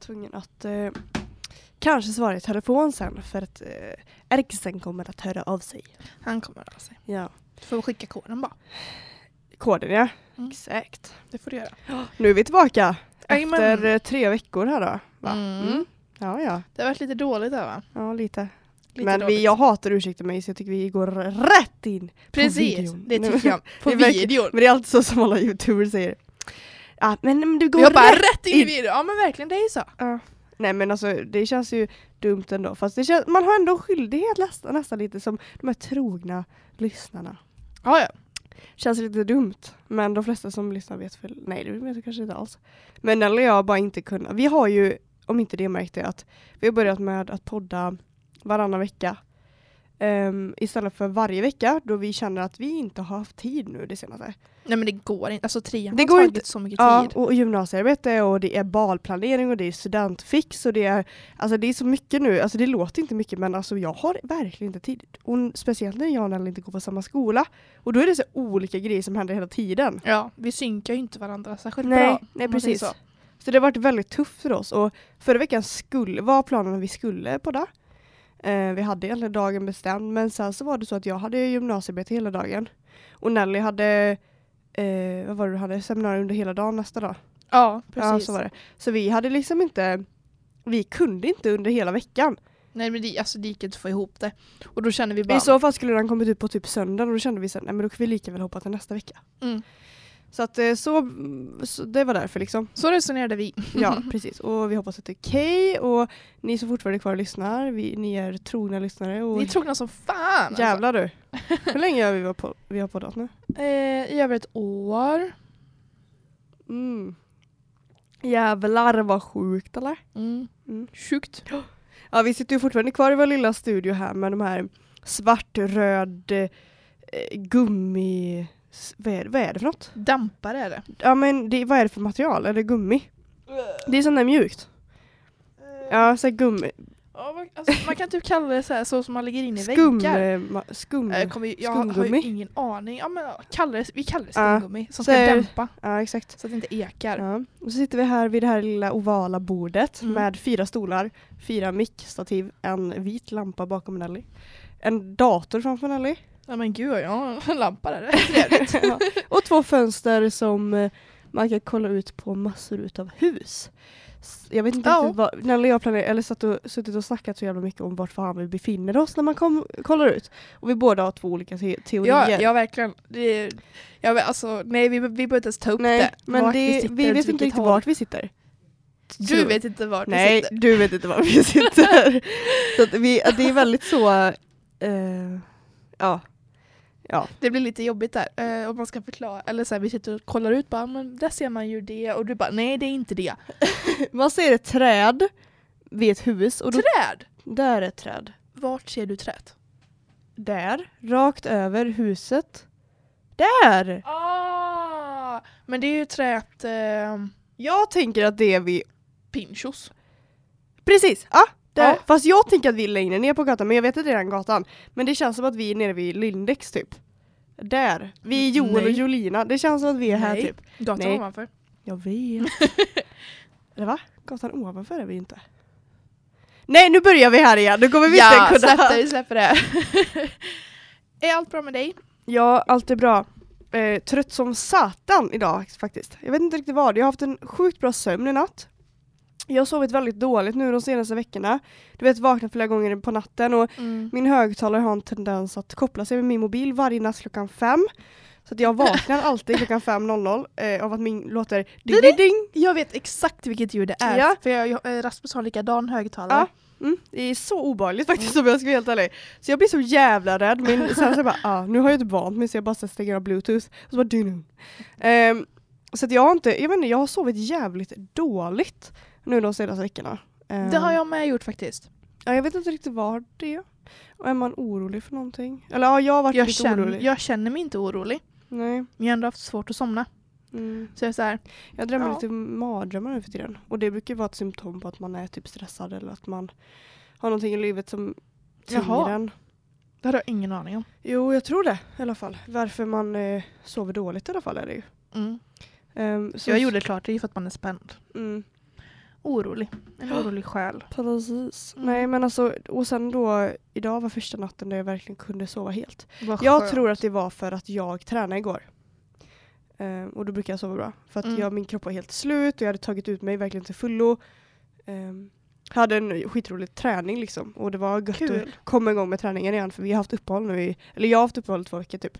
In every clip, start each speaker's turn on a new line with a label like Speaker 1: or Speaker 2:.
Speaker 1: tvungen att eh, kanske svara i telefon sen för att eh, Erksen kommer att höra av sig.
Speaker 2: Han kommer av sig.
Speaker 1: Ja.
Speaker 2: Du får skicka koden bara.
Speaker 1: Koden ja.
Speaker 2: Mm.
Speaker 1: Exakt.
Speaker 2: Det får du göra.
Speaker 1: Nu är vi tillbaka
Speaker 2: Jajamän.
Speaker 1: efter eh, tre veckor här då. Va?
Speaker 2: Mm.
Speaker 1: Ja, ja.
Speaker 2: Det har varit lite dåligt där va?
Speaker 1: Ja, lite.
Speaker 2: Lite
Speaker 1: Men
Speaker 2: dåligt.
Speaker 1: vi, jag hatar ursäkta mig så jag tycker vi går rätt in på
Speaker 2: Precis,
Speaker 1: videon.
Speaker 2: det
Speaker 1: Nej,
Speaker 2: tycker jag. På
Speaker 1: det är verkligen-
Speaker 2: videon.
Speaker 1: Men det är alltid så som alla youtubers säger. Ja, men, men du går
Speaker 2: Jag bara
Speaker 1: rätt
Speaker 2: rätt in i
Speaker 1: in.
Speaker 2: videon. Ja men verkligen, det är ju så.
Speaker 1: Nej men alltså det känns ju dumt ändå. Fast det känns, man har ändå en skyldighet nästan, nästan lite som de här trogna lyssnarna.
Speaker 2: Ja, ja.
Speaker 1: Känns lite dumt. Men de flesta som lyssnar vet väl, nej det vet jag kanske inte alls. Men Nelly och jag har bara inte kunnat. Vi har ju, om inte det märkte att vi har börjat med att podda varannan vecka. Ehm, istället för varje vecka då vi känner att vi inte har haft tid nu det senaste.
Speaker 2: Nej men det går inte. Alltså trean
Speaker 1: Det
Speaker 2: har
Speaker 1: går
Speaker 2: tagit
Speaker 1: inte.
Speaker 2: så mycket
Speaker 1: Ja,
Speaker 2: tid.
Speaker 1: och gymnasiearbete och det är balplanering och det är studentfix och det är, alltså det är så mycket nu, alltså det låter inte mycket men alltså jag har verkligen inte tid. Och n- speciellt när jag och Nelly inte går på samma skola. Och då är det så olika grejer som händer hela tiden.
Speaker 2: Ja, vi synkar ju inte varandra särskilt
Speaker 1: Nej,
Speaker 2: bra.
Speaker 1: nej
Speaker 2: om man säger
Speaker 1: precis. Så.
Speaker 2: så.
Speaker 1: det har varit väldigt tufft för oss och förra veckan skulle, var planen att vi skulle podda. Eh, vi hade egentligen dagen bestämd men sen så var det så att jag hade gymnasiearbete hela dagen. Och Nelly hade, eh, vad var det du hade, seminarium under hela dagen nästa dag.
Speaker 2: Ja, precis.
Speaker 1: Ja, så var det. Så vi hade liksom inte, vi kunde inte under hela veckan.
Speaker 2: Nej men det, alltså, det gick inte att få ihop det. Och då känner vi bara...
Speaker 1: I så fall skulle den kommit ut på typ söndagen och då kände vi sen, nej men då kan vi lika väl hoppa till nästa vecka.
Speaker 2: Mm.
Speaker 1: Så att eh, så, så, det var därför liksom.
Speaker 2: Så resonerade vi.
Speaker 1: Ja, precis. Och vi hoppas att det är okej och ni som fortfarande är kvar och lyssnar, vi, ni är trogna lyssnare och
Speaker 2: Ni är trogna som fan! Alltså.
Speaker 1: jävlar du. Hur länge har vi, varit på, vi har poddat nu?
Speaker 2: Eh, I över ett år.
Speaker 1: Mm. Jävlar vad sjukt eller?
Speaker 2: Mm.
Speaker 1: Mm.
Speaker 2: Sjukt.
Speaker 1: Ja, vi sitter ju fortfarande kvar i vår lilla studio här med de här svart-röd eh, gummi... s- Vad är, vad är det för något?
Speaker 2: Dampare är det.
Speaker 1: Ja, men det, vad är det för material? Är det gummi? Det är sånt där mjukt. Ja, så här gummi.
Speaker 2: Ja, man, alltså, man kan typ kalla det så här så som man lägger in i
Speaker 1: Skum...
Speaker 2: väggar.
Speaker 1: eh, ma- Skum...
Speaker 2: Eh, kommer, ju- jag har ju
Speaker 1: skumgummi.
Speaker 2: ingen aning. Ja, men, ja, kallar det, vi kallar det
Speaker 1: Ja.
Speaker 2: skumgummi som ska
Speaker 1: Så är-
Speaker 2: dämpa
Speaker 1: Ja, exakt.
Speaker 2: så att det inte ekar.
Speaker 1: Ja. Och så sitter vi här vid det här lilla ovala bordet
Speaker 2: Mm.
Speaker 1: med fyra stolar, fyra mickstativ, en vit lampa bakom Nelly, en dator framför Nelly
Speaker 2: Ja, men gud, jag har en lampa där. Det är trevligt.
Speaker 1: Ja. Och två fönster som eh, man kan kolla ut på massor utav hus. S- Jag vet inte
Speaker 2: Ja.
Speaker 1: riktigt vad, Nelly och jag planerar, eller satt och, suttit och snackat så jävla mycket om vart fan vi befinner oss när man kom, kollar ut. Och vi båda har två olika te- teorier.
Speaker 2: ja, ja, verkligen. Det är, jag, vet- alltså, nej, vi, vi behöver inte ens ta upp
Speaker 1: Nej,
Speaker 2: det.
Speaker 1: men
Speaker 2: Vart
Speaker 1: det, vi,
Speaker 2: sitter, åt
Speaker 1: vet
Speaker 2: vilket
Speaker 1: inte riktigt
Speaker 2: håll.
Speaker 1: vart vi sitter.
Speaker 2: Du vet inte vart vi
Speaker 1: Nej,
Speaker 2: sitter.
Speaker 1: du vet inte var vi sitter. så att vi, att det är väldigt så, eh, ja. Ja,
Speaker 2: Det blir lite jobbigt där. Eh, om man ska förklara. Eller så här, vi sitter och kollar ut bara, men där ser man ju det. Och du bara, nej det är inte det.
Speaker 1: man ser ett träd vid ett hus och då,
Speaker 2: Träd!
Speaker 1: där är ett träd.
Speaker 2: Vart ser du träd?
Speaker 1: Där, rakt över huset. Där!
Speaker 2: Ah, men det är ju träet eh,
Speaker 1: Jag tänker att det är vi...
Speaker 2: Pinchos.
Speaker 1: Precis! Ja, där.
Speaker 2: Ja.
Speaker 1: Fast jag tänker att vi är längre ner på gatan, men jag vet att det är den gatan. Men det känns som att vi är nere vid Lindex typ. Där. Vi är Joel och
Speaker 2: Nej.
Speaker 1: Jolina. Det känns som att vi är här
Speaker 2: Nej.
Speaker 1: typ.
Speaker 2: Gatan
Speaker 1: Nej.
Speaker 2: ovanför.
Speaker 1: Jag vet. Eller va? Gatan ovanför är vi inte. Nej, nu börjar vi här igen. Nu kommer vi
Speaker 2: Ja,
Speaker 1: inte kunna...
Speaker 2: släpp det, vi släpper det. är allt bra med dig?
Speaker 1: Ja, allt är bra. Eh, trött som satan idag faktiskt. Jag vet inte riktigt vad. Jag har haft en sjukt bra sömn i natt. Jag har sovit väldigt dåligt nu de senaste veckorna. Du vet, vaknat flera gånger på natten och
Speaker 2: Mm.
Speaker 1: min högtalare har en tendens att koppla sig med min mobil varje natt klockan fem. Så att jag vaknar alltid klockan 5.00 eh, av att min låter ding ding ding.
Speaker 2: Jag vet exakt vilket ljud det är.
Speaker 1: Ja.
Speaker 2: För jag, jag, eh, Rasmus har likadan högtalare.
Speaker 1: Ja. Mm, det är så obehagligt faktiskt om jag ska vara helt ärlig. Så jag blir så jävla rädd men sen så jag bara, ah, nu har jag inte vant mig så jag bara så stänger av bluetooth och så bara dynum. Ehm, så att jag har inte, jag vet inte, jag har sovit jävligt dåligt nu de senaste veckorna. Ehm,
Speaker 2: Det har jag med gjort faktiskt.
Speaker 1: Ja, jag vet inte riktigt vad det är. Och är man orolig för någonting? Eller ja, jag har varit
Speaker 2: Jag
Speaker 1: lite
Speaker 2: känner,
Speaker 1: orolig.
Speaker 2: jag känner mig inte orolig.
Speaker 1: Nej.
Speaker 2: Men jag har ändå haft svårt att somna.
Speaker 1: Mm.
Speaker 2: Så jag är så här,
Speaker 1: Jag drömmer
Speaker 2: Ja.
Speaker 1: lite mardrömmar nu för tiden. Och det brukar ju vara ett symptom på att man är typ stressad eller att man har någonting i livet som tynger
Speaker 2: Jaha.
Speaker 1: en.
Speaker 2: det hade jag ingen aning om.
Speaker 1: Jo, jag tror det i alla fall. Varför man eh, sover dåligt i alla fall är det ju.
Speaker 2: Mm.
Speaker 1: Ehm, så
Speaker 2: Jag gjorde klart det är ju för att man är spänd.
Speaker 1: Mm.
Speaker 2: orolig. En orolig själ.
Speaker 1: Precis.
Speaker 2: Mm.
Speaker 1: Nej men alltså, och sen då, idag var första natten där jag verkligen kunde sova helt.
Speaker 2: Vad
Speaker 1: Jag
Speaker 2: skönt.
Speaker 1: tror att det var för att jag tränade igår. Ehm, och då brukar jag sova bra. För att
Speaker 2: Mm.
Speaker 1: jag, min kropp var helt slut och jag hade tagit ut mig verkligen till fullo. Ehm, hade en skitrolig träning liksom. Och det var gött
Speaker 2: Kul.
Speaker 1: att komma igång med träningen igen för vi har haft uppehåll nu i, eller jag har haft uppehåll i två veckor typ.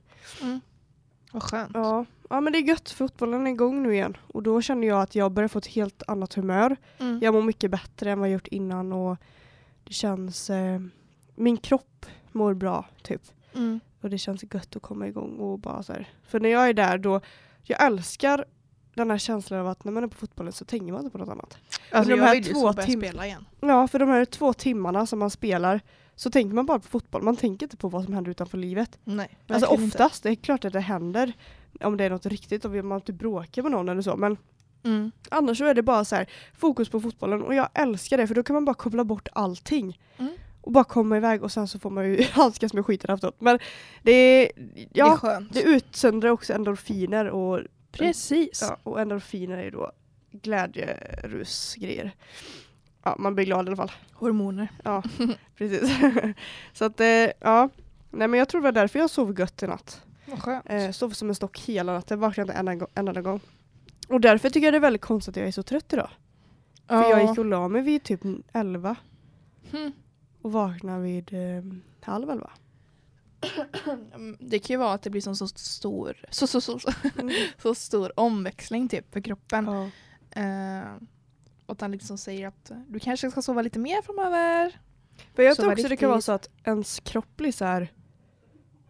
Speaker 2: Vad skönt.
Speaker 1: Ja. ja men det är gött, fotbollen är igång nu igen. Och då känner jag att jag börjar få ett helt annat humör.
Speaker 2: Mm.
Speaker 1: Jag mår mycket bättre än vad jag gjort innan och det känns, eh, min kropp mår bra typ.
Speaker 2: Mm.
Speaker 1: Och det känns gött att komma igång och bara så här. För när jag är där då, jag älskar den här känslan av att när man är på fotbollen så tänker man inte på något annat.
Speaker 2: Alltså,
Speaker 1: de
Speaker 2: jag
Speaker 1: här
Speaker 2: vill ju
Speaker 1: två
Speaker 2: så börja
Speaker 1: tim-
Speaker 2: spela igen.
Speaker 1: Ja, för de här två timmarna som man spelar så tänker man bara på fotboll. Man tänker inte på vad som händer utanför livet.
Speaker 2: Nej,
Speaker 1: Alltså
Speaker 2: verkligen inte.
Speaker 1: oftast, det är klart att det händer om det är något riktigt, om man inte bråkar med någon eller så. Men
Speaker 2: Mm.
Speaker 1: annars så är det bara så här, fokus på fotbollen. Och jag älskar det för då kan man bara koppla bort allting.
Speaker 2: Mm.
Speaker 1: Och bara komma iväg och sen så får man ju handskas med skiten efteråt. Men det är, ja,
Speaker 2: Det är skönt.
Speaker 1: Det utsöndrar också endorfiner och,
Speaker 2: Precis.
Speaker 1: ja, och endorfiner är ju då glädjerusgrejer. Ja, man blir glad i alla fall.
Speaker 2: Hormoner.
Speaker 1: Precis. så att, eh, ja. Nej men jag tror det var därför jag sov gött i natt.
Speaker 2: Vad skönt.
Speaker 1: Eh, sov som en stock hela natten, vaknade inte en enda, gång- en enda gång. Och därför tycker jag det är väldigt konstigt att jag är så trött idag. För jag gick och la mig vid typ 11
Speaker 2: Mm.
Speaker 1: och vaknade vid eh, halv 11.
Speaker 2: Mm, Det kan ju vara att det blir som så stor, så, så, så, så, så stor omväxling typ för kroppen.
Speaker 1: Mm. Ja.
Speaker 2: Eh, och att han liksom säger att du kanske ska sova lite mer framöver.
Speaker 1: Men jag
Speaker 2: Så
Speaker 1: tror
Speaker 2: var
Speaker 1: också det kan vara
Speaker 2: riktigt-
Speaker 1: så att ens kropp blir så här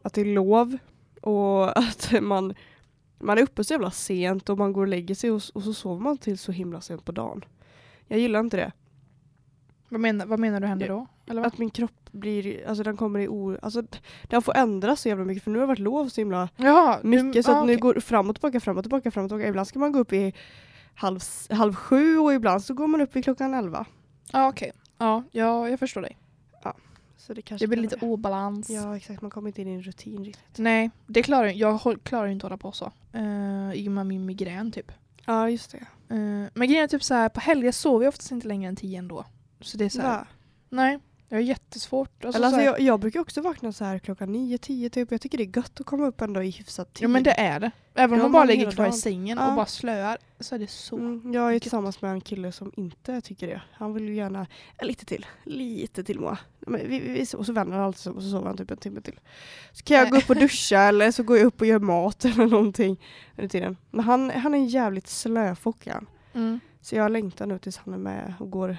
Speaker 1: att det är lov och att man, man är uppe så jävla sent och man går och lägger sig och, och så sover man till så himla sent på dagen. Jag gillar inte det.
Speaker 2: Vad menar, vad menar du händer
Speaker 1: Ja.
Speaker 2: då? Eller vad?
Speaker 1: Att min kropp blir, alltså den kommer i o... Alltså d- den får ändras så jävla mycket för nu har det varit lov så himla
Speaker 2: Jaha, du-
Speaker 1: mycket så
Speaker 2: ah,
Speaker 1: att nu
Speaker 2: okej.
Speaker 1: går det fram och tillbaka, fram och tillbaka, fram och tillbaka. Ibland ska man gå upp i halv, s- halv sju och ibland så går man upp i klockan elva.
Speaker 2: Ja, okej. Ja, ja, jag förstår dig.
Speaker 1: Så det kanske
Speaker 2: Det blir
Speaker 1: kan
Speaker 2: lite
Speaker 1: vara
Speaker 2: obalans.
Speaker 1: det. Ja exakt, man kommer inte in i en rutin riktigt.
Speaker 2: Nej, det klarar jag. Jag håll- klarar ju inte att hålla på så. Eh, I och med min migrän typ.
Speaker 1: Ja just det.
Speaker 2: Eh, men grejen är typ så här, på helger sover jag oftast inte längre än tio ändå. Så det är så här,
Speaker 1: Va?
Speaker 2: nej. Jag har jättesvårt. Alltså,
Speaker 1: Eller
Speaker 2: så
Speaker 1: alltså,
Speaker 2: här,
Speaker 1: jag, jag brukar också vakna så här klockan 9-10 typ. Jag tycker det är gött att komma upp ändå i hyfsat tid.
Speaker 2: Ja men det är det. Även om
Speaker 1: Ja,
Speaker 2: man bara
Speaker 1: man
Speaker 2: ligger
Speaker 1: hela
Speaker 2: kvar i
Speaker 1: dagen.
Speaker 2: sängen
Speaker 1: Ja.
Speaker 2: och bara slöar så är det så.
Speaker 1: Mm, jag är ju
Speaker 2: Gött.
Speaker 1: tillsammans med en kille som inte tycker det. Han vill ju gärna, "Ja, lite till, lite till Moa. Men vi, vi, vi, och så vänder han alltid så- och så sover han typ en timme till. Så kan jag
Speaker 2: Nej.
Speaker 1: gå upp och duscha eller så går jag upp och gör mat eller någonting under tiden. Men han, han är en jävligt slöfock är han.
Speaker 2: Mm.
Speaker 1: Så jag längtar nu tills han är med och går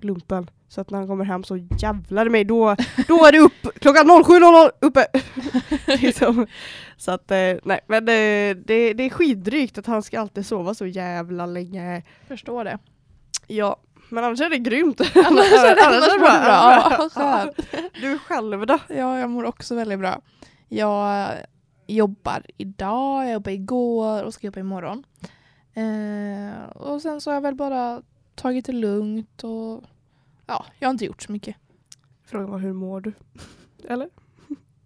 Speaker 1: lumpen. Så att när han kommer hem så jävlar i mig, då, då är det upp klockan 07.00 uppe. liksom. Så att eh, nej, men eh, det, det är skitdrygt att han ska alltid sova så jävla länge.
Speaker 2: Förstår det.
Speaker 1: Ja, men annars är det grymt.
Speaker 2: Annars är det, annars
Speaker 1: är
Speaker 2: mår du bra. Ja,
Speaker 1: Ja.
Speaker 2: skönt.
Speaker 1: Du själv då?
Speaker 2: ja, jag mår också väldigt bra. Jag eh, jobbar idag, jag jobbade igår och ska jobba imorgon. Eh, och sen så har jag väl bara tagit det lugnt och ja, jag har inte gjort så mycket.
Speaker 1: Frågan var hur mår du? Eller?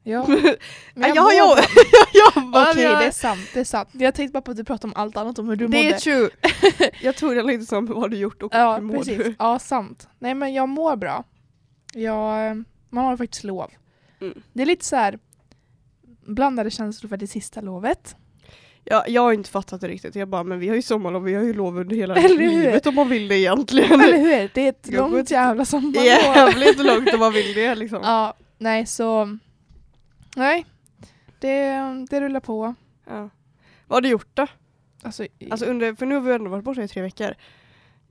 Speaker 2: Ja. Men
Speaker 1: jag, har
Speaker 2: mår
Speaker 1: jobb-
Speaker 2: bra.
Speaker 1: jag jobbar!
Speaker 2: Okej,
Speaker 1: jag...
Speaker 2: det är sant. Det är sant. Jag tänkte bara på att du pratade om allt annat, om hur du mådde.
Speaker 1: det är true. jag tog den lite som vad har du gjort och
Speaker 2: Ja,
Speaker 1: hur mår
Speaker 2: precis.
Speaker 1: du?
Speaker 2: Ja, sant. Nej, men jag mår bra. Jag, eh, man har faktiskt lov.
Speaker 1: Mm.
Speaker 2: Det är lite så här blandade känslor för det sista lovet.
Speaker 1: Ja, jag har inte fattat det riktigt. Jag bara, men vi har ju sommarlov, vi har ju lov under hela
Speaker 2: Eller hur?
Speaker 1: livet om man vill det egentligen.
Speaker 2: Eller hur? Det är ett
Speaker 1: Jag går
Speaker 2: långt
Speaker 1: inte-
Speaker 2: jävla sommarlov.
Speaker 1: Jävligt långt om man vill det liksom.
Speaker 2: Ja, nej så... Nej, det, det rullar på.
Speaker 1: Ja. Vad har du gjort då?
Speaker 2: Alltså,
Speaker 1: Alltså under, för nu har vi ändå varit borta i tre veckor.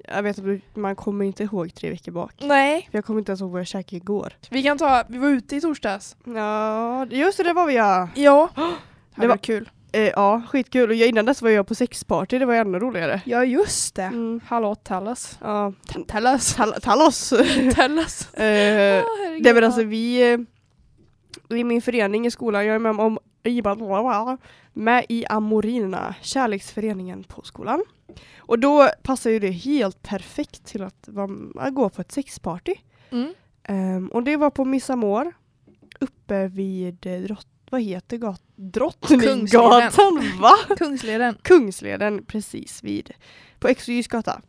Speaker 1: Jag vet att du- man kommer inte ihåg tre veckor bak.
Speaker 2: nej,
Speaker 1: För jag kommer inte ens ihåg vad jag käkade igår.
Speaker 2: vi kan ta... Vi var ute i torsdags.
Speaker 1: Ja, just det, det var vi ja.
Speaker 2: Ja. Det var
Speaker 1: var-
Speaker 2: kul.
Speaker 1: Eh, ja, skitkul. Och jag, innan dess var jag på sexparty, det var ju ännu roligare.
Speaker 2: Ja, just det.
Speaker 1: Mm.
Speaker 2: Hallå, Tallas.
Speaker 1: Ja.
Speaker 2: Tallas.
Speaker 1: Tal- Talos!
Speaker 2: Tallas.
Speaker 1: eh,
Speaker 2: Åh, herregud.
Speaker 1: Nej men alltså vi eh, i min förening i skolan, jag är med om i- med i Amorina, kärleksföreningen på skolan. Och då passar ju det helt perfekt till att vara- att gå på ett sexparty.
Speaker 2: Mm.
Speaker 1: Ehm, och det var på Missamor uppe vid eh, drott, vad heter gat, Drottninggatan?
Speaker 2: Kungsleden.
Speaker 1: Va?
Speaker 2: Kungsleden.
Speaker 1: Kungsleden precis vid, på Exogys gata.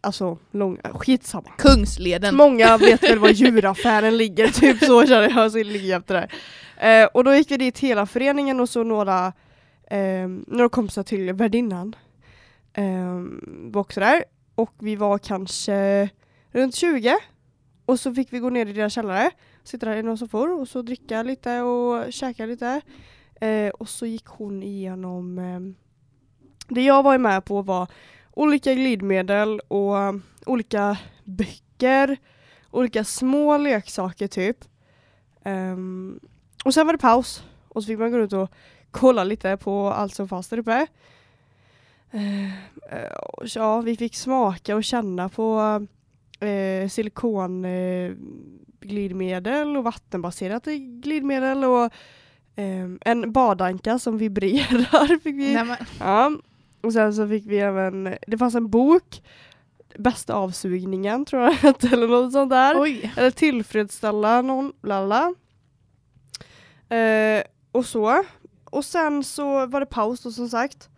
Speaker 1: alltså långa, skitsamma.
Speaker 2: Kungsleden.
Speaker 1: Många vet väl var djuraffären ligger, typ så känner jag, så ligger jag efter där. Eh, och då gick vi dit hela föreningen och så några, eh, några kompisar till värdinnan. Eh, var också där. Och vi var kanske runt 20. Och så fick vi gå ner i deras källare, sitta där i några soffor och så dricka lite och käka lite. Eh, och så gick hon igenom, eh, det jag var med på var olika glidmedel och eh, olika böcker böcker, olika små leksaker typ. Ehm, och sen var det paus och så fick man gå ut och kolla lite på allt som fanns där uppe. Ehm, eh, och så, ja, vi fick smaka och känna på uh, silikonglidmedel och vattenbaserat glidmedel och ehm, en badanka som vibrerar fick vi.
Speaker 2: Nej, men,
Speaker 1: Ja. Och sen så fick vi även, det fanns en bok, Bästa avsugningen tror jag hette, eller något sånt där.
Speaker 2: oj.
Speaker 1: Eller tillfredsställa någon, lalla. Eh, och så. Och sen så var det paus då som sagt.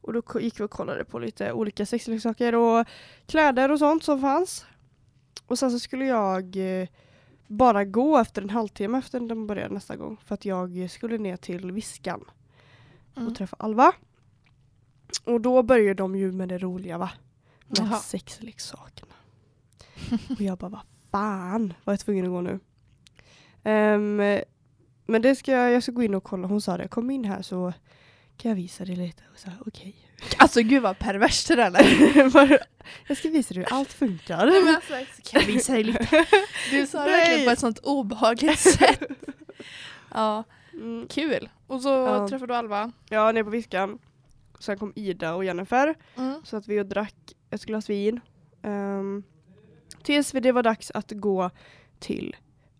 Speaker 1: Och då ko- gick vi och kollade på lite olika sexleksaker och kläder och sånt som fanns. Och sen så skulle jag eh, bara gå efter en halvtimme efter den började nästa gång. För att jag skulle ner till Viskan
Speaker 2: Mm.
Speaker 1: och träffa Alva. Och då börjar de ju med det roliga va? Med
Speaker 2: Jaha.
Speaker 1: sexleksakerna. Och jag bara, vad fan var jag tvungen att gå nu? Ehm, men det ska jag, jag ska gå in och kolla. Hon sa det, kom in här så kan jag visa dig lite. Och så här, okej.
Speaker 2: Alltså gud vad perverst det där lät.
Speaker 1: Bara, jag ska visa dig hur allt funkar.
Speaker 2: Nej, men alltså, kan jag visa dig lite? Du sa det
Speaker 1: Nej.
Speaker 2: verkligen på ett sånt obehagligt sätt. Ja,
Speaker 1: Mm,
Speaker 2: kul. Och så
Speaker 1: Ja.
Speaker 2: träffade du Alva.
Speaker 1: ja, ner på Viskan. Sen kom Ida och Jennifer.
Speaker 2: Mm.
Speaker 1: Så att vi och drack ett glas vin. Ehm, tills det var dags att gå till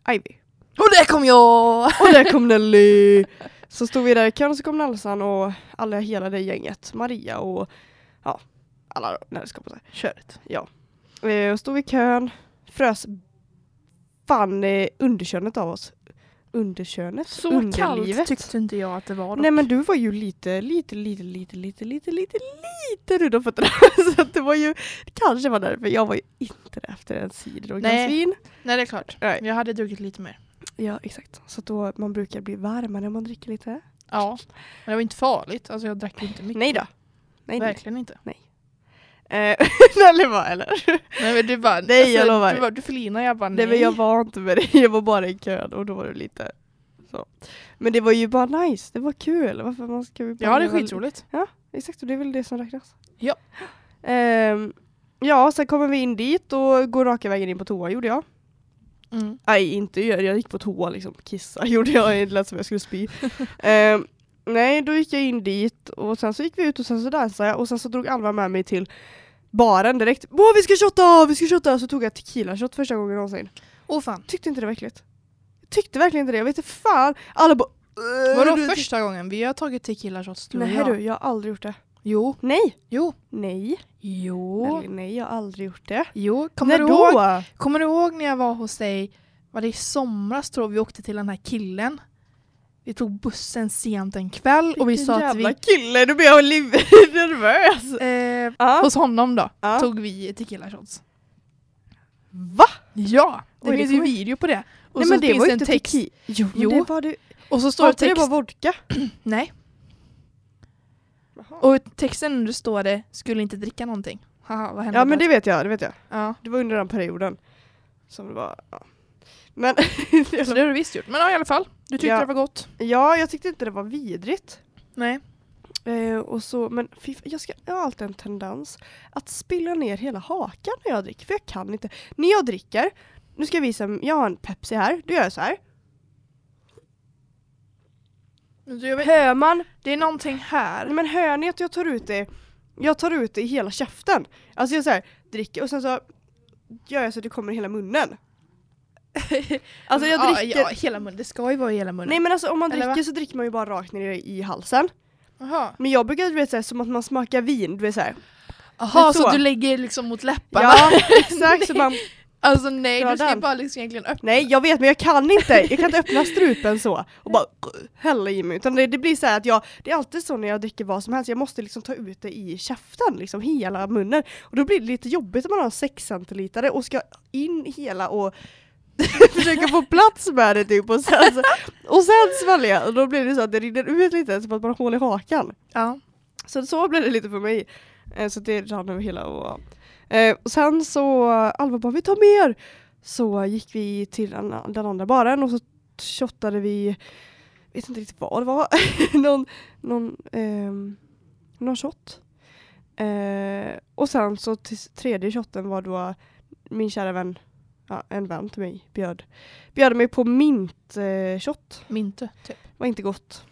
Speaker 1: Ivy.
Speaker 2: Och där kom jag!
Speaker 1: Och där kom Nelly! Så stod vi där i kön och så kom Nalsan och alla hela det gänget. Maria och ja, alla Nellys kompisar.
Speaker 2: Köret.
Speaker 1: Eh, Och stod i kön, frös fan eh, underkönet av oss. Underkönet?
Speaker 2: Så kallt tyckte inte jag att det var. Då.
Speaker 1: Nej men du var ju lite, lite, lite, lite, lite, lite, lite, lite röd om fötterna. Så att det var ju, det kanske var därför. Jag var ju inte det efter en cider och ett
Speaker 2: Nej.
Speaker 1: glas vin.
Speaker 2: Nej, det är klart.
Speaker 1: Nej.
Speaker 2: Jag hade druckit lite mer.
Speaker 1: Ja exakt. Så att då man brukar bli varmare om man dricker lite.
Speaker 2: Ja, men det var inte farligt. Alltså jag drack ju inte mycket.
Speaker 1: Nej då. Nej, nej.
Speaker 2: Verkligen inte.
Speaker 1: Eh, eller vad eller?
Speaker 2: Nej, men du bara, alltså,
Speaker 1: Nej, jag lovar.
Speaker 2: Du, bara, du förlinade, jag bara nej.
Speaker 1: Nej men jag var inte med dig, jag var bara i kön och då var det lite så. Men det var ju bara nice, det var kul. Varför man ska ju bara
Speaker 2: jag hade
Speaker 1: leva-
Speaker 2: skitroligt.
Speaker 1: Exakt, och det är väl det som räknas.
Speaker 2: Ja.
Speaker 1: Ehm, ja, sen kommer vi in dit och går raka vägen in på toa gjorde jag.
Speaker 2: Mm.
Speaker 1: Nej, inte jag, jag gick på toa liksom. Kissa gjorde jag, det lät som jag skulle spy. Ehm, nej, då gick jag in dit och sen så gick vi ut och sen så dansade jag och sen så drog Alva med mig till baren direkt. Åh, vi ska shotta, vi ska shotta! Så tog jag tequila-shot första gången någonsin.
Speaker 2: Åh fan.
Speaker 1: Tyckte inte det var äckligt. Tyckte verkligen inte det, jag vet inte fan. Alla bara... "Åh,
Speaker 2: Vadå
Speaker 1: du-
Speaker 2: första gången? Vi har tagit tequila shots du och
Speaker 1: Nej
Speaker 2: jag.
Speaker 1: du, jag har aldrig gjort det.
Speaker 2: Jo.
Speaker 1: Nej!
Speaker 2: Jo.
Speaker 1: Nej.
Speaker 2: Jo.
Speaker 1: Eller, nej, jag har aldrig gjort det.
Speaker 2: Jo. Kommer
Speaker 1: när
Speaker 2: du ihåg?
Speaker 1: då?
Speaker 2: Kommer du ihåg när jag var hos dig, var det i somras tror jag, vi åkte till den här killen? Vi tog bussen sent en kväll och vi
Speaker 1: Vilken
Speaker 2: sa att vi...
Speaker 1: jävla kille, nu blir jag liv- nervös.
Speaker 2: Eh,
Speaker 1: Ja.
Speaker 2: hos honom då,
Speaker 1: Ja.
Speaker 2: tog vi tequila shots.
Speaker 1: Va?
Speaker 2: Ja! Det
Speaker 1: Oj, det
Speaker 2: finns ju
Speaker 1: kommer-
Speaker 2: video på det. Och
Speaker 1: Nej
Speaker 2: så
Speaker 1: men det
Speaker 2: finns
Speaker 1: var
Speaker 2: det
Speaker 1: ju
Speaker 2: en
Speaker 1: inte
Speaker 2: text.
Speaker 1: tequila. Jo,
Speaker 2: Jo.
Speaker 1: Men det var det.
Speaker 2: Och
Speaker 1: Står
Speaker 2: så står det
Speaker 1: det
Speaker 2: text.
Speaker 1: var vodka?
Speaker 2: Nej. Och i texten under står det skulle inte dricka någonting. Haha, vad hände
Speaker 1: Ja men
Speaker 2: då?
Speaker 1: det vet jag, det vet jag.
Speaker 2: Ja.
Speaker 1: Det var under den perioden. Som det var, ja. Men
Speaker 2: Så det har du visst gjort. Men ja, i alla fall. Du tyckte
Speaker 1: Ja.
Speaker 2: det var gott.
Speaker 1: ja, jag tyckte inte det var vidrigt.
Speaker 2: Nej.
Speaker 1: Eh, och så, men fy, fan, jag, ska, jag har alltid en tendens att spilla ner hela hakan när jag dricker, för jag kan inte. När jag dricker, nu ska jag visa, jag har en Pepsi här, då gör jag så här.
Speaker 2: Du,
Speaker 1: Hör man
Speaker 2: det är någonting
Speaker 1: Nej,
Speaker 2: här.
Speaker 1: men hör ni att jag tar ut det Jag tar ut det i hela käften Alltså jag så här, dricker och sen så Gör jag så att det kommer i hela munnen Alltså jag dricker
Speaker 2: Ja, ja, hela munnen. Det ska ju vara i hela munnen.
Speaker 1: Nej men alltså om man
Speaker 2: Eller
Speaker 1: dricker så dricker man ju bara rakt ner i halsen
Speaker 2: Jaha.
Speaker 1: Men jag brukar du vet så här, som att man smakar vin Du vet så här.
Speaker 2: Jaha,
Speaker 1: Men
Speaker 2: så.
Speaker 1: så.
Speaker 2: du lägger liksom mot läpparna?
Speaker 1: Ja exakt så man
Speaker 2: Alltså nej,
Speaker 1: Dra
Speaker 2: du ska ju
Speaker 1: den.
Speaker 2: bara liksom egentligen öppna.
Speaker 1: Nej jag vet men jag kan inte, jag kan inte öppna strupen så och bara hälla i mig utan det, det blir så här att jag, det är alltid så när jag dricker vad som helst, jag måste liksom ta ut det i käften liksom hela munnen och då blir det lite jobbigt om man har en 6 centilitare och ska in hela och försöka få plats med det typ och sen, så- och sen svälja och då blir det så att det rinner ut lite som att man har hål i hakan.
Speaker 2: Ja.
Speaker 1: Så så blev det lite för mig. Eh, Så det rann över hela och, eh, och sen så Alva bara vi tar mer. Så gick vi till den, den andra baren och så shottade vi, vet inte riktigt vad det var, någon, någon, ehm, någon shot. Eh, och sen så till tredje shotten var då min kära vän, ja, en vän till mig, bjöd, bjöd mig på mint eh, shot.
Speaker 2: Mynte typ.
Speaker 1: Var inte gott.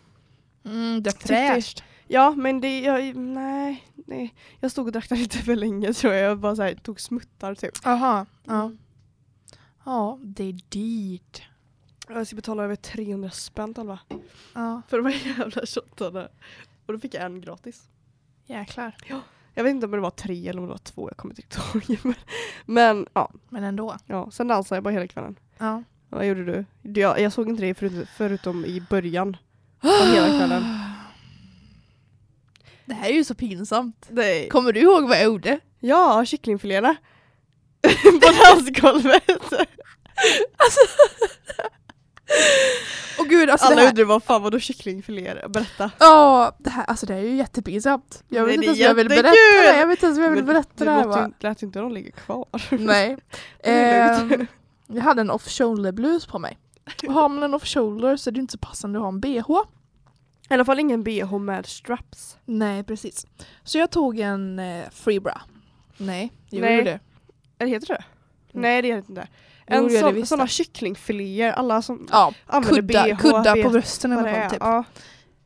Speaker 2: Mm, det är
Speaker 1: Tyckte-
Speaker 2: fräscht.
Speaker 1: Ja, men det, jag, nej, nej. Jag stod och drack den lite för länge tror jag. Jag bara så här, tog smuttar typ.
Speaker 2: Jaha. Ja. Mm. ja, det är dyrt.
Speaker 1: Jag ska betala över 300 spänn Alva.
Speaker 2: Ja,
Speaker 1: För de här jävla shottarna. Och då fick jag en gratis.
Speaker 2: jäklar.
Speaker 1: Jag vet inte om det var tre eller om det var två, jag kommer inte riktigt ihåg. Men, men ja,
Speaker 2: Men ändå.
Speaker 1: ja, sen dansade jag bara hela kvällen.
Speaker 2: Ja.
Speaker 1: Vad gjorde du? Du, Jag, jag såg inte dig förut, förutom i början av hela kvällen.
Speaker 2: Det här är ju så pinsamt.
Speaker 1: Nej.
Speaker 2: Kommer du ihåg vad jag gjorde?
Speaker 1: Ja, kycklingfiléerna. På dansgolvet. Alltså.
Speaker 2: Åh gud, alltså det
Speaker 1: Alla
Speaker 2: här,
Speaker 1: undrar vad fan vadå kycklingfiléer? Berätta.
Speaker 2: Ja, det här, alltså det här är ju jättepinsamt. Jag
Speaker 1: Nej,
Speaker 2: vet
Speaker 1: det
Speaker 2: inte
Speaker 1: är
Speaker 2: ens om jag vill berätta
Speaker 1: jättekul!
Speaker 2: det. här. Jag vet inte ens om jag vill
Speaker 1: Men
Speaker 2: berätta det här
Speaker 1: låter ju
Speaker 2: va?
Speaker 1: inte- lät ju inte de ligga kvar.
Speaker 2: Nej.
Speaker 1: Det är lugnt.
Speaker 2: Ehm, jag hade en off-shoulder blus på mig. Och har man en off-shoulder så är det inte så passande att ha en bh.
Speaker 1: I alla fall ingen bh med straps.
Speaker 2: Nej, precis. Så jag tog en eh, free bra. Nej, gjorde
Speaker 1: Nej.
Speaker 2: du det?
Speaker 1: Eller heter det Nej det heter inte.
Speaker 2: Mm. Jo,
Speaker 1: En
Speaker 2: det gör det
Speaker 1: sån,
Speaker 2: visst
Speaker 1: såna
Speaker 2: det.
Speaker 1: kycklingfiléer, alla som
Speaker 2: Ja,
Speaker 1: använder
Speaker 2: kudda,
Speaker 1: bh
Speaker 2: kudda på
Speaker 1: vet
Speaker 2: brösten i
Speaker 1: vad
Speaker 2: alla
Speaker 1: det är.
Speaker 2: fall. Typ.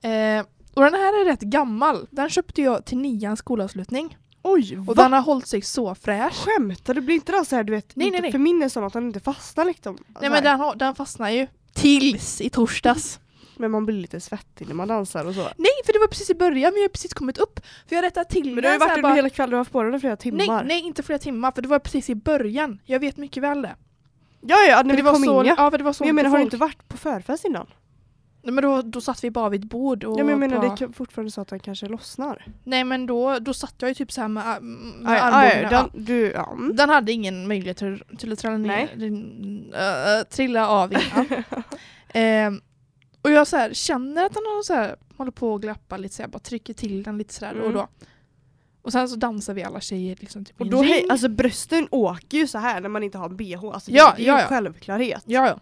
Speaker 1: Ja.
Speaker 2: Eh, och den här är rätt gammal. Den köpte jag till nians skolavslutning.
Speaker 1: Oj,
Speaker 2: Och
Speaker 1: va?
Speaker 2: den har hållit sig så fräsch.
Speaker 1: Skämtar du? Blir inte den så här du vet,
Speaker 2: Nej,
Speaker 1: inte,
Speaker 2: nej, nej.
Speaker 1: för min är sån att den inte fastnar liksom.
Speaker 2: Nej
Speaker 1: Så
Speaker 2: men
Speaker 1: här.
Speaker 2: den, har, den fastnar ju. Tills i torsdags.
Speaker 1: men man blir lite svettig när man dansar och så.
Speaker 2: Nej för det var precis i början, men jag har precis kommit upp. För jag rättade till
Speaker 1: Men du har ju
Speaker 2: den så
Speaker 1: varit
Speaker 2: här
Speaker 1: under
Speaker 2: bara-
Speaker 1: hela kvällen, du har haft på den i flera timmar.
Speaker 2: Nej, nej inte flera timmar för det var precis i början. Jag vet mycket väl det.
Speaker 1: Ja ja, när
Speaker 2: För
Speaker 1: vi
Speaker 2: det var
Speaker 1: kom
Speaker 2: så,
Speaker 1: in ja.
Speaker 2: ja. för det var så
Speaker 1: Men jag
Speaker 2: mycket
Speaker 1: menar har du
Speaker 2: folk.
Speaker 1: inte varit på förfest innan?
Speaker 2: Nej, men då, då satt vi bara vid ett bord och
Speaker 1: Ja men jag menar
Speaker 2: bara...
Speaker 1: det är typ fortfarande så att den kanske lossnar.
Speaker 2: Nej men då, då satt jag ju typ såhär med, med
Speaker 1: Aj,
Speaker 2: armbågarna.
Speaker 1: aj,
Speaker 2: ja.
Speaker 1: den, du, ja. mm.
Speaker 2: Den hade ingen möjlighet till, till att trilla, ner,
Speaker 1: Nej.
Speaker 2: din- äh, trilla av innan. Ehm, och jag så här, känner att den har så här, håller på att glappa lite så jag bara trycker till den lite sådär och
Speaker 1: Mm.
Speaker 2: då. Och sen så dansar vi alla tjejer liksom typ i
Speaker 1: Och
Speaker 2: en
Speaker 1: då,
Speaker 2: ring.
Speaker 1: hej, alltså brösten åker ju så här när man inte har bh, alltså
Speaker 2: Ja,
Speaker 1: det, det är
Speaker 2: ja,
Speaker 1: ju
Speaker 2: ja.
Speaker 1: en självklarhet.
Speaker 2: Ja ja.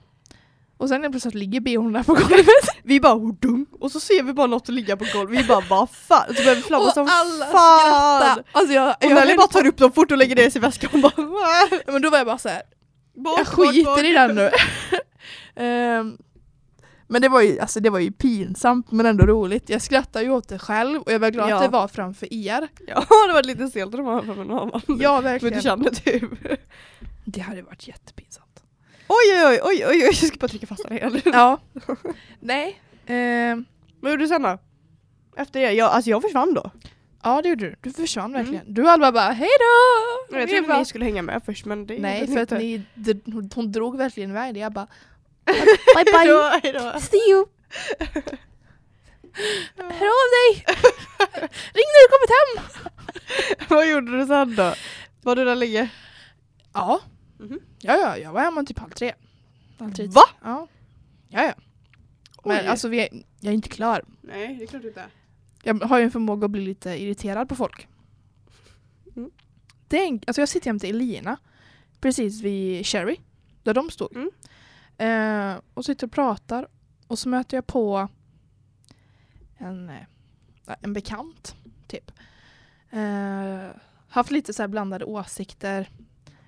Speaker 2: Och sen helt plötsligt ligger bhn där på golvet.
Speaker 1: Vi bara hodum, och så ser vi bara något ligga på golvet, vi bara vad fan? Och så börjar vi flamma
Speaker 2: och
Speaker 1: som
Speaker 2: alla
Speaker 1: fan!
Speaker 2: skrattar. Alltså jag,
Speaker 1: Och
Speaker 2: jag
Speaker 1: Nelly
Speaker 2: höll
Speaker 1: bara
Speaker 2: på-
Speaker 1: tar upp dem fort och lägger ner i sin väska och bara "Wah!"
Speaker 2: Men då var jag bara så här.
Speaker 1: bort,
Speaker 2: jag skiter i den nu. Ehm, men det var, ju, alltså det var ju pinsamt men ändå roligt. Jag skrattade ju åt det själv och jag var glad
Speaker 1: Ja.
Speaker 2: att det var framför er.
Speaker 1: Ja det var lite stelt när man var med någon annan.
Speaker 2: Ja
Speaker 1: Men du
Speaker 2: verkligen.
Speaker 1: känner typ.
Speaker 2: Det hade varit jättepinsamt.
Speaker 1: Oj oj oj oj oj, jag ska bara trycka fast den igen.
Speaker 2: Ja. Nej. Ehm,
Speaker 1: Vad gjorde du sen då? Efter det? Jag, alltså jag försvann då.
Speaker 2: ja det gjorde du. Du försvann
Speaker 1: Mm.
Speaker 2: verkligen. Du och Alva bara hejdå!
Speaker 1: Jag
Speaker 2: Vi
Speaker 1: trodde
Speaker 2: bara,
Speaker 1: ni skulle hänga med först men det
Speaker 2: Nej
Speaker 1: gjorde
Speaker 2: för att
Speaker 1: inte.
Speaker 2: ni, det, hon- hon drog verkligen iväg det. Jag bara bye bye,
Speaker 1: Hejdå, hejdå.
Speaker 2: see you! Hör av dig! Ring när du kommit hem!
Speaker 1: Vad gjorde du sen då? Var du där länge?
Speaker 2: Ja.
Speaker 1: Mhm.
Speaker 2: ja, ja, jag var hemma typ halv tre. Halv tre.
Speaker 1: Va?
Speaker 2: Ja. ja, ja. Men alltså vi är, jag är inte klar.
Speaker 1: Nej, det är klart inte.
Speaker 2: Jag har ju en förmåga att bli lite irriterad på folk.
Speaker 1: Mm.
Speaker 2: Det är en, alltså jag sitter jämte Elina, precis vid Sherry, där de stod.
Speaker 1: Mm.
Speaker 2: Eh, och sitter och pratar och så möter jag på en, eh, en bekant, typ. Eh, haft lite så här blandade åsikter.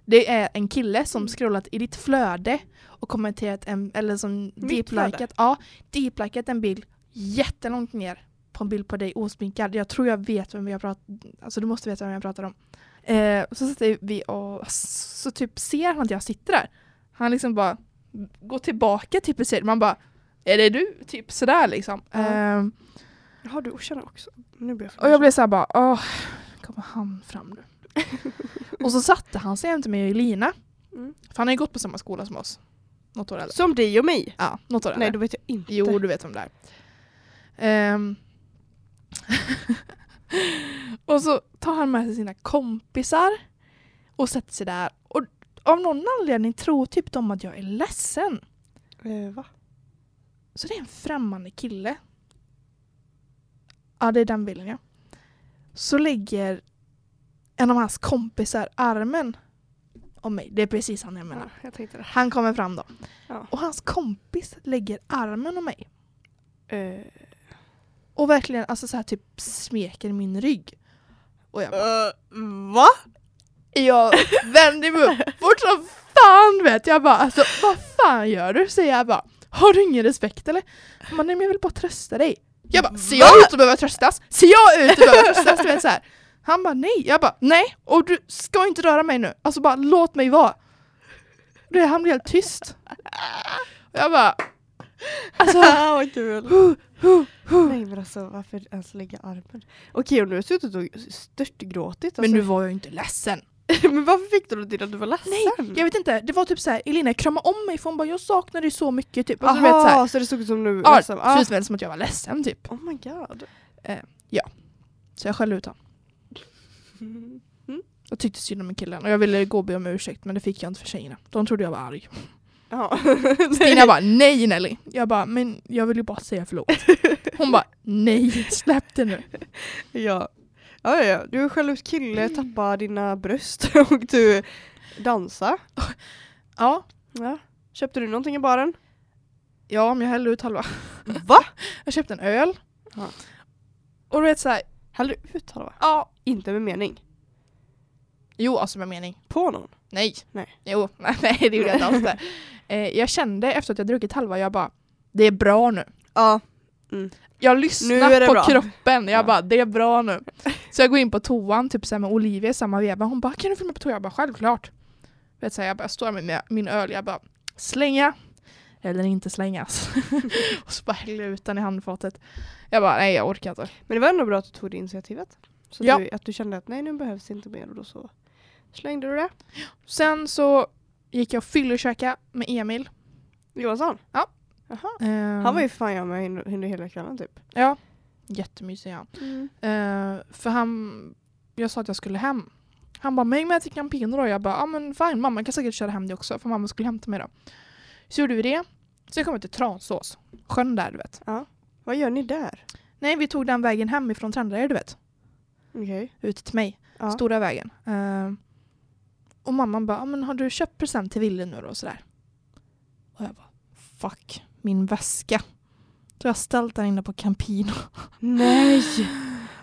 Speaker 2: Det är en kille
Speaker 1: Mm.
Speaker 2: som scrollat i ditt flöde och kommenterat en, eller som deep-likat,
Speaker 1: flöde?
Speaker 2: ja, deep-likat en bild jättelångt ner på en bild på dig osminkad. Jag tror jag vet vem jag pratar Alltså du måste veta vem jag pratar om. Eh, så sitter vi och så typ ser han att jag sitter där. Han liksom bara går tillbaka typ och ser man bara är det du? Typ sådär liksom.
Speaker 1: Ja.
Speaker 2: Ehm,
Speaker 1: Jaha, du känner också. Nu blir jag
Speaker 2: och jag blev såhär bara åh, kommer han fram nu? och så satte han sig jämte mig och Elina.
Speaker 1: Mm.
Speaker 2: För han har ju gått på samma skola som oss. Något år äldre.
Speaker 1: Alltså. Som dig och mig.
Speaker 2: Ja, något år äldre.
Speaker 1: Nej, då vet jag inte.
Speaker 2: Jo, du vet vem det är. Ehm. och så tar han med sig sina kompisar och sätter sig där. Och av någon anledning tror typ de att jag är ledsen.
Speaker 1: Eh, va?
Speaker 2: Så det är en främmande kille. Ja, det är den bilden ja. Så lägger en av hans kompisar armen om mig. Det är precis han jag menar.
Speaker 1: Ja, jag tänkte det.
Speaker 2: Han kommer fram då.
Speaker 1: Ja.
Speaker 2: Och hans kompis lägger armen om mig.
Speaker 1: Eh,
Speaker 2: Och verkligen alltså så här typ smeker min rygg. Och jag,
Speaker 1: eh, va?
Speaker 2: jag vänder mig upp fort som fan vet jag bara alltså vad fan gör du? Säger jag bara har du ingen respekt eller? Han bara, nej men jag vill bara trösta dig. Jag bara ser jag ut att behöva tröstas? Ser jag ut att behöva tröstas? Du vet så här. Han bara nej. Jag bara nej och du ska inte röra mig nu. Alltså bara låt mig vara. Du vet, han blev helt tyst. Och jag bara alltså
Speaker 1: vad kul. Nej men alltså varför ens lägga armen? Okej om du har suttit och störtgråtit.
Speaker 2: men
Speaker 1: Alltså.
Speaker 2: nu var jag ju inte ledsen.
Speaker 1: men varför fick du då till att du var ledsen?
Speaker 2: Nej, jag vet inte. Det var typ så här, Elina krama om mig för hon bara jag saknar dig så mycket typ.
Speaker 1: Aha,
Speaker 2: Alltså, du vet, så här,
Speaker 1: så, det såg ut som nu?
Speaker 2: ja,
Speaker 1: liksom.
Speaker 2: det
Speaker 1: ah.
Speaker 2: känns väl som att jag var ledsen typ.
Speaker 1: Oh my god.
Speaker 2: Så jag skällde ut honom. Jag tyckte synd om killen och jag ville gå och be om ursäkt men det fick jag inte för tjejerna. De trodde jag var arg.
Speaker 1: Ja.
Speaker 2: Stina bara nej Nelly. Jag bara men jag vill ju bara säga förlåt. Hon bara nej släpp det nu.
Speaker 1: ja. Ja, ja, ja. Du är själv kille, tappar dina bröst och du dansar.
Speaker 2: Ja,
Speaker 1: Ja. Köpte du någonting i baren?
Speaker 2: ja men jag hällde ut halva.
Speaker 1: Va?
Speaker 2: Jag köpte en öl.
Speaker 1: Ja.
Speaker 2: Och du vet såhär,
Speaker 1: Hällde du ut halva?
Speaker 2: ja.
Speaker 1: Inte med mening.
Speaker 2: Jo alltså med mening.
Speaker 1: På någon?
Speaker 2: Nej.
Speaker 1: Nej.
Speaker 2: Jo, nej, nej det gjorde jag inte alls det. Eh, jag kände efter att jag druckit halva, jag bara det är bra nu.
Speaker 1: Ja.
Speaker 2: Jag
Speaker 1: Nu är
Speaker 2: lyssnar
Speaker 1: det
Speaker 2: på
Speaker 1: bra.
Speaker 2: kroppen, jag
Speaker 1: Ja.
Speaker 2: bara det är bra nu. Så jag går in på toan typ så här med Olivia i samma veva, hon bara kan du följa med på toa? Jag bara självklart. Vet, så här, jag, bara, jag står med min- min öl, jag bara slänga eller inte slängas. och så bara häller jag ut den i handfatet. Jag bara nej jag orkar inte.
Speaker 1: Men det var ändå bra att du tog det initiativet. Så
Speaker 2: Ja.
Speaker 1: du, att du kände att nej nu behövs inte mer och då så slängde du det.
Speaker 2: Sen så gick jag och fyllekäkade med Emil.
Speaker 1: Johansson? Mm.
Speaker 2: Ja.
Speaker 1: Jaha.
Speaker 2: Ehm,
Speaker 1: Han var ju fan jag med under hela kvällen typ.
Speaker 2: Ja, jättemysig han.
Speaker 1: Mm.
Speaker 2: Eh, för han, jag sa att jag skulle hem. Han bara, men häng med till Campino då. Jag bara, ja ah, men fine, mamma kan säkert köra hem det också. För mamma skulle hämta mig då. Så gjorde vi det. Sen kom vi till Transås, sjön där du vet.
Speaker 1: Vad gör ni där?
Speaker 2: Nej, vi tog den vägen hemifrån Trändared du vet.
Speaker 1: Okej.
Speaker 2: Ut till mig,
Speaker 1: Ja.
Speaker 2: stora vägen. Eh, och mamman bara, ah, men har du köpt present till Ville nu då? Och sådär. Och jag bara, fuck, min väska. Så jag har ställt den inne på Campino.
Speaker 1: Nej!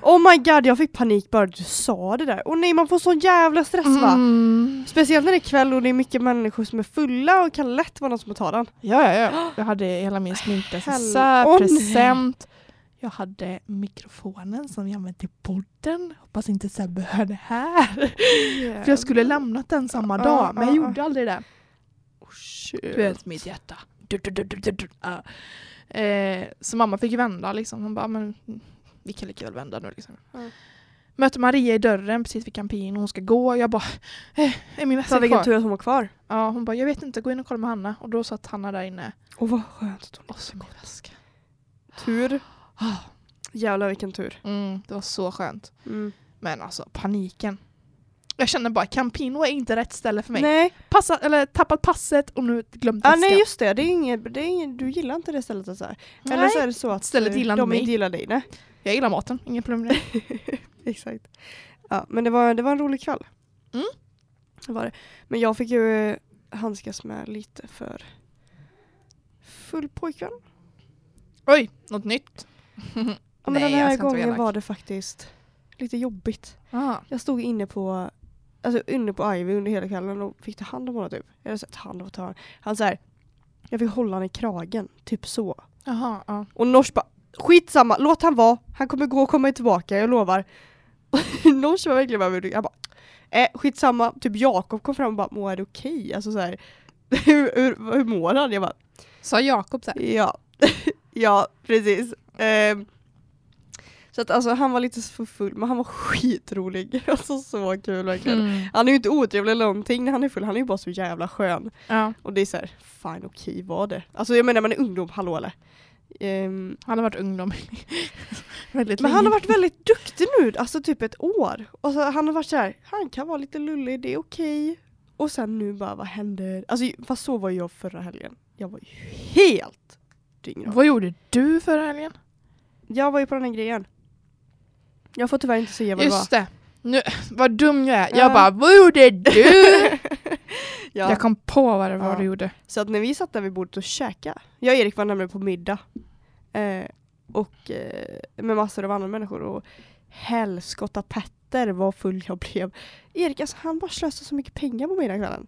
Speaker 1: Oh my god, jag fick panik bara du sa det där. Och nej, man får sån jävla stress va?
Speaker 2: Mm.
Speaker 1: Speciellt när det är kväll och det är mycket människor som är fulla och kan lätt vara någon som tar den.
Speaker 2: Ja, ja, ja. Jag hade hela min sminkdessert,
Speaker 1: Åh, nej.
Speaker 2: present. Jag hade mikrofonen som jag använde i podden. Hoppas inte Sebbe hör det här. För jag skulle lämnat den samma
Speaker 1: Ja,
Speaker 2: dag, men jag
Speaker 1: ja, ja.
Speaker 2: gjorde aldrig det.
Speaker 1: Oh, shit.
Speaker 2: Du vet mitt hjärta. Du, du, du, du, du, du. Ja. Eh, så mamma fick vända liksom. Hon bara, men vi kan lika väl vända nu liksom.
Speaker 1: Ja.
Speaker 2: Möter Maria i dörren precis vid campin och hon ska gå. Jag bara, eh, är min
Speaker 1: Fan
Speaker 2: väska
Speaker 1: vilken
Speaker 2: kvar?
Speaker 1: tur att hon var kvar.
Speaker 2: Ja, hon bara, jag vet inte, gå in och kolla med Hanna. Och då satt Hanna där inne.
Speaker 1: Åh vad skönt att hon
Speaker 2: Och så min väska.
Speaker 1: Tur.
Speaker 2: Ah.
Speaker 1: Jävlar vilken tur.
Speaker 2: Mm, det var så skönt.
Speaker 1: Mm.
Speaker 2: Men alltså paniken. Jag känner bara Campino är inte rätt ställe för mig.
Speaker 1: Nej,
Speaker 2: Passa, eller tappat passet och nu glömt
Speaker 1: ah,
Speaker 2: väskan.
Speaker 1: nej just det, det är inget, det är inget, du gillar inte det stället alltså. Eller
Speaker 2: Nej.
Speaker 1: så är det så att
Speaker 2: Stället
Speaker 1: eh,
Speaker 2: gillar
Speaker 1: de
Speaker 2: inte mig.
Speaker 1: inte gillar dig. Nej.
Speaker 2: Jag gillar maten, inget problem med det.
Speaker 1: Exakt. Ja, men det var, det var en rolig kväll.
Speaker 2: Mm.
Speaker 1: Det var det. Men jag fick ju eh, handskas med lite för full pojkvän.
Speaker 2: Oj, något nytt.
Speaker 1: Ja, men
Speaker 2: Nej,
Speaker 1: den
Speaker 2: jag
Speaker 1: här
Speaker 2: ska inte vara
Speaker 1: gången
Speaker 2: elak.
Speaker 1: var det faktiskt lite jobbigt.
Speaker 2: Ah.
Speaker 1: Jag stod inne på alltså inne på Ivy under hela kvällen och fick ta hand om honom typ. Eller så, ta hand om, ta hand. Han så här, jag fick hålla honom i kragen, typ så.
Speaker 2: Jaha, ja.
Speaker 1: Och Nors bara, skitsamma, låt han vara. Han kommer gå och komma tillbaka, jag lovar. Och Nors var verkligen bara, han bara, eh, skitsamma. Typ Jakob kom fram och bara, Moa är det okej? Alltså så här, hur, hur, hur mår han? Jag bara,
Speaker 2: Sa Jakob så här.
Speaker 1: ja. ja, precis. Ehm, Så att alltså han var lite för full men han var skitrolig. Alltså så kul verkligen.
Speaker 2: Mm.
Speaker 1: Han är ju inte otrevlig eller någonting när han är full, han är ju bara så jävla skön.
Speaker 2: Ja,
Speaker 1: Och det är så här, fine okej var det. Alltså jag menar man är ungdom, hallå eller? Ehm,
Speaker 2: han har varit ungdom väldigt
Speaker 1: men han
Speaker 2: länge.
Speaker 1: har varit väldigt duktig nu, alltså typ ett år. Och så, han har varit så här, han kan vara lite lullig, det är okej. Och sen nu bara, vad händer? Alltså fast så var jag förra helgen. Jag var ju helt dyngrak.
Speaker 2: Vad gjorde du förra helgen?
Speaker 1: Jag var ju på den här grejen. Jag får tyvärr inte säga vad
Speaker 2: Just
Speaker 1: det
Speaker 2: det. Nu, vad dum jag är. Jag
Speaker 1: Ja.
Speaker 2: bara, vad gjorde du?
Speaker 1: var. ja.
Speaker 2: Jag kom på vad det var
Speaker 1: Ja.
Speaker 2: du gjorde.
Speaker 1: Så att när vi satt där vid bordet och käkade, jag och Erik var nämligen på middag. Eh, och eh, med massor av andra människor och helskotta Petter vad full jag blev. Erik alltså han bara slösade så mycket pengar på middagskvällen.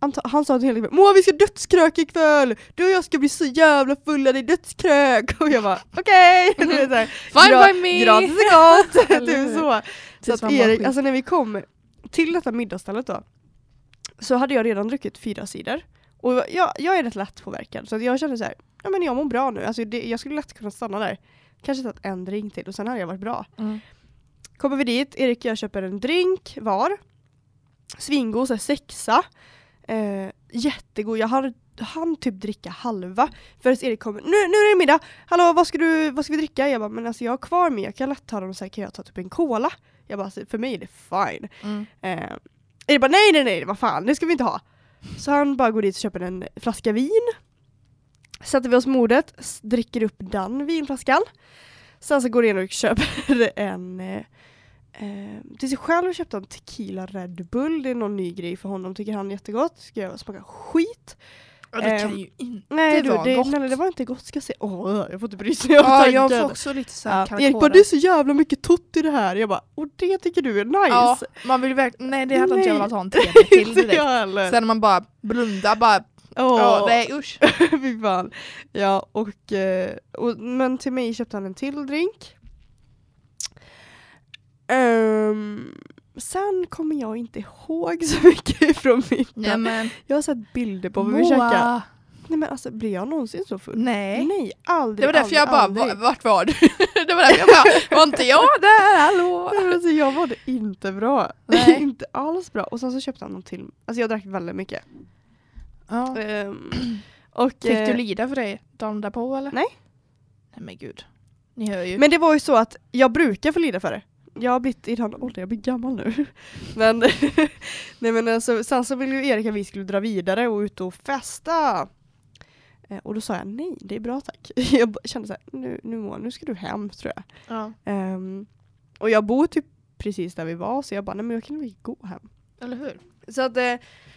Speaker 1: Han, ta- han sa till hela kvällen Moa vi ska dödskrök ikväll! Du och jag ska bli så jävla fulla, det är dödskrök! Och jag bara okej! Du vet så här,
Speaker 2: Fine
Speaker 1: gra-
Speaker 2: by me!
Speaker 1: Gratis är gott!
Speaker 2: Eller
Speaker 1: typ
Speaker 2: hur?
Speaker 1: så. Så
Speaker 2: Tills
Speaker 1: att
Speaker 2: Typ, man mår
Speaker 1: Erik,
Speaker 2: skit.
Speaker 1: alltså när vi kom till detta middagsstället då så hade jag redan druckit fyra sidor. Och jag, jag är rätt lätt påverkad så att jag kände så här, ja men jag mår bra nu. Alltså det, jag skulle lätt kunna stanna där. Kanske tagit en drink till och sen hade jag varit bra.
Speaker 2: Mm.
Speaker 1: Kommer vi dit, Erik och jag köper en drink var. Svingo, så här sexa. Eh, jättegod, jag har, han typ dricka halva. Förrän Erik kommer, nu, nu är det middag, hallå vad ska, du, vad ska vi dricka? Jag bara, men alltså jag har kvar mig, jag kan lätt ta dem så här, kan jag ta typ en cola? Jag bara, "Alltså, för mig är det fine.
Speaker 2: Mm.
Speaker 1: Eh, Erik bara, nej nej nej, vad fan, det ska vi inte ha. Så han bara går dit och köper en flaska vin. Sätter vi oss med bordet, s- dricker upp den vinflaskan. Sen så går Erik och köper en eh, Eh, till sig själv köpte han tequila Red Bull, det är någon ny grej för honom, tycker han är jättegott. Ska jag smaka skit?
Speaker 2: Ja, det
Speaker 1: Ehm,
Speaker 2: kan ju inte
Speaker 1: Nej du,
Speaker 2: vara
Speaker 1: det,
Speaker 2: gott.
Speaker 1: nej, det var inte gott ska jag säga. Åh, jag får inte bry sig om
Speaker 2: ja,
Speaker 1: tanken.
Speaker 2: jag får också lite så här
Speaker 1: Ja.
Speaker 2: kalla
Speaker 1: Erik bara,
Speaker 2: kårar.
Speaker 1: det är så jävla mycket tott i det här. Jag bara, och det tycker du är nice?
Speaker 2: Ja, man vill verkligen, nej det hade inte jag
Speaker 1: Nej.
Speaker 2: velat ha en tredje till
Speaker 1: Inte
Speaker 2: direkt.
Speaker 1: jag heller.
Speaker 2: Sen när man bara blundar bara, ja,
Speaker 1: Åh,
Speaker 2: nej usch.
Speaker 1: fy fan. Ja, och, eh, och, men till mig köpte han en till drink. Ehm, sen kommer jag inte ihåg så mycket från middagen.
Speaker 2: Nej men,
Speaker 1: Jag har sett bilder på vad vi käkade.
Speaker 2: Moa.
Speaker 1: Nej men alltså blir jag någonsin så full?
Speaker 2: Nej.
Speaker 1: Nej, aldrig.
Speaker 2: Det var därför jag bara,
Speaker 1: aldrig,
Speaker 2: "Va- vart var du? det var därför jag bara, var inte jag där, hallå?
Speaker 1: aldrig. Alltså, jag mådde inte bra.
Speaker 2: Nej.
Speaker 1: inte alls bra. Och sen så köpte han någon till. Alltså jag drack väldigt mycket.
Speaker 2: Ja.
Speaker 1: Ehm, och,
Speaker 2: Fick du
Speaker 1: eh,
Speaker 2: lida för dig dagen därpå eller?
Speaker 1: Nej.
Speaker 2: Nej men gud. Ni hör ju.
Speaker 1: men det var ju så att jag brukar få lida för det. Jag har blivit i den åldern, jag blir gammal nu. Men, nej men alltså, sen så ville ju Erik att vi skulle dra vidare och ut och festa. Eh, Och då sa jag nej, det är bra tack. Jag bara kände så här, nu, nu, Moa, nu ska du hem tror jag.
Speaker 2: ja.
Speaker 1: Ehm, och jag bor typ precis där vi var så jag bara, nej men jag kan väl gå hem.
Speaker 2: Eller hur?
Speaker 1: Så att, eh,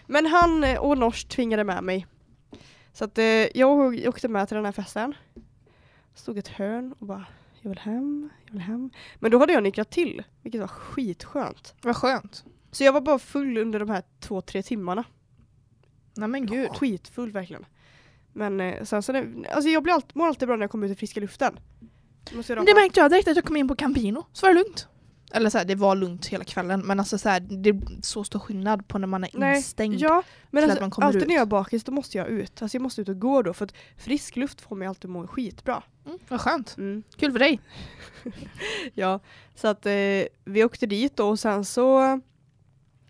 Speaker 1: men han eh, och Nors tvingade med mig. Så att eh, jag åkte med till den här festen. Stod i ett hörn och bara, jag vill hem, jag vill hem. Men då hade jag nycklat till, vilket var skitskönt.
Speaker 2: Vad skönt.
Speaker 1: Så jag var bara full under de här två, tre timmarna.
Speaker 2: Nej men gud.
Speaker 1: Skitfull verkligen. Men eh, sen så, det, alltså jag blir alltid, mår alltid bra när jag kommer ut i friska luften. Måste jag
Speaker 2: Men
Speaker 1: raka
Speaker 2: det märkte jag direkt att jag kom in på Campino, så var det lugnt. Eller så här, det var lugnt hela kvällen men alltså så här, det är så stor skillnad på när man är
Speaker 1: Nej,
Speaker 2: instängd.
Speaker 1: Ja, men
Speaker 2: till
Speaker 1: alltså,
Speaker 2: att man kommer
Speaker 1: alltid
Speaker 2: ut.
Speaker 1: när jag är bakis då måste jag ut. Alltså jag måste ut och gå då för att frisk luft får mig alltid må skitbra.
Speaker 2: Mm, vad skönt. Kul för dig.
Speaker 1: Ja, så att eh, vi åkte dit då och sen så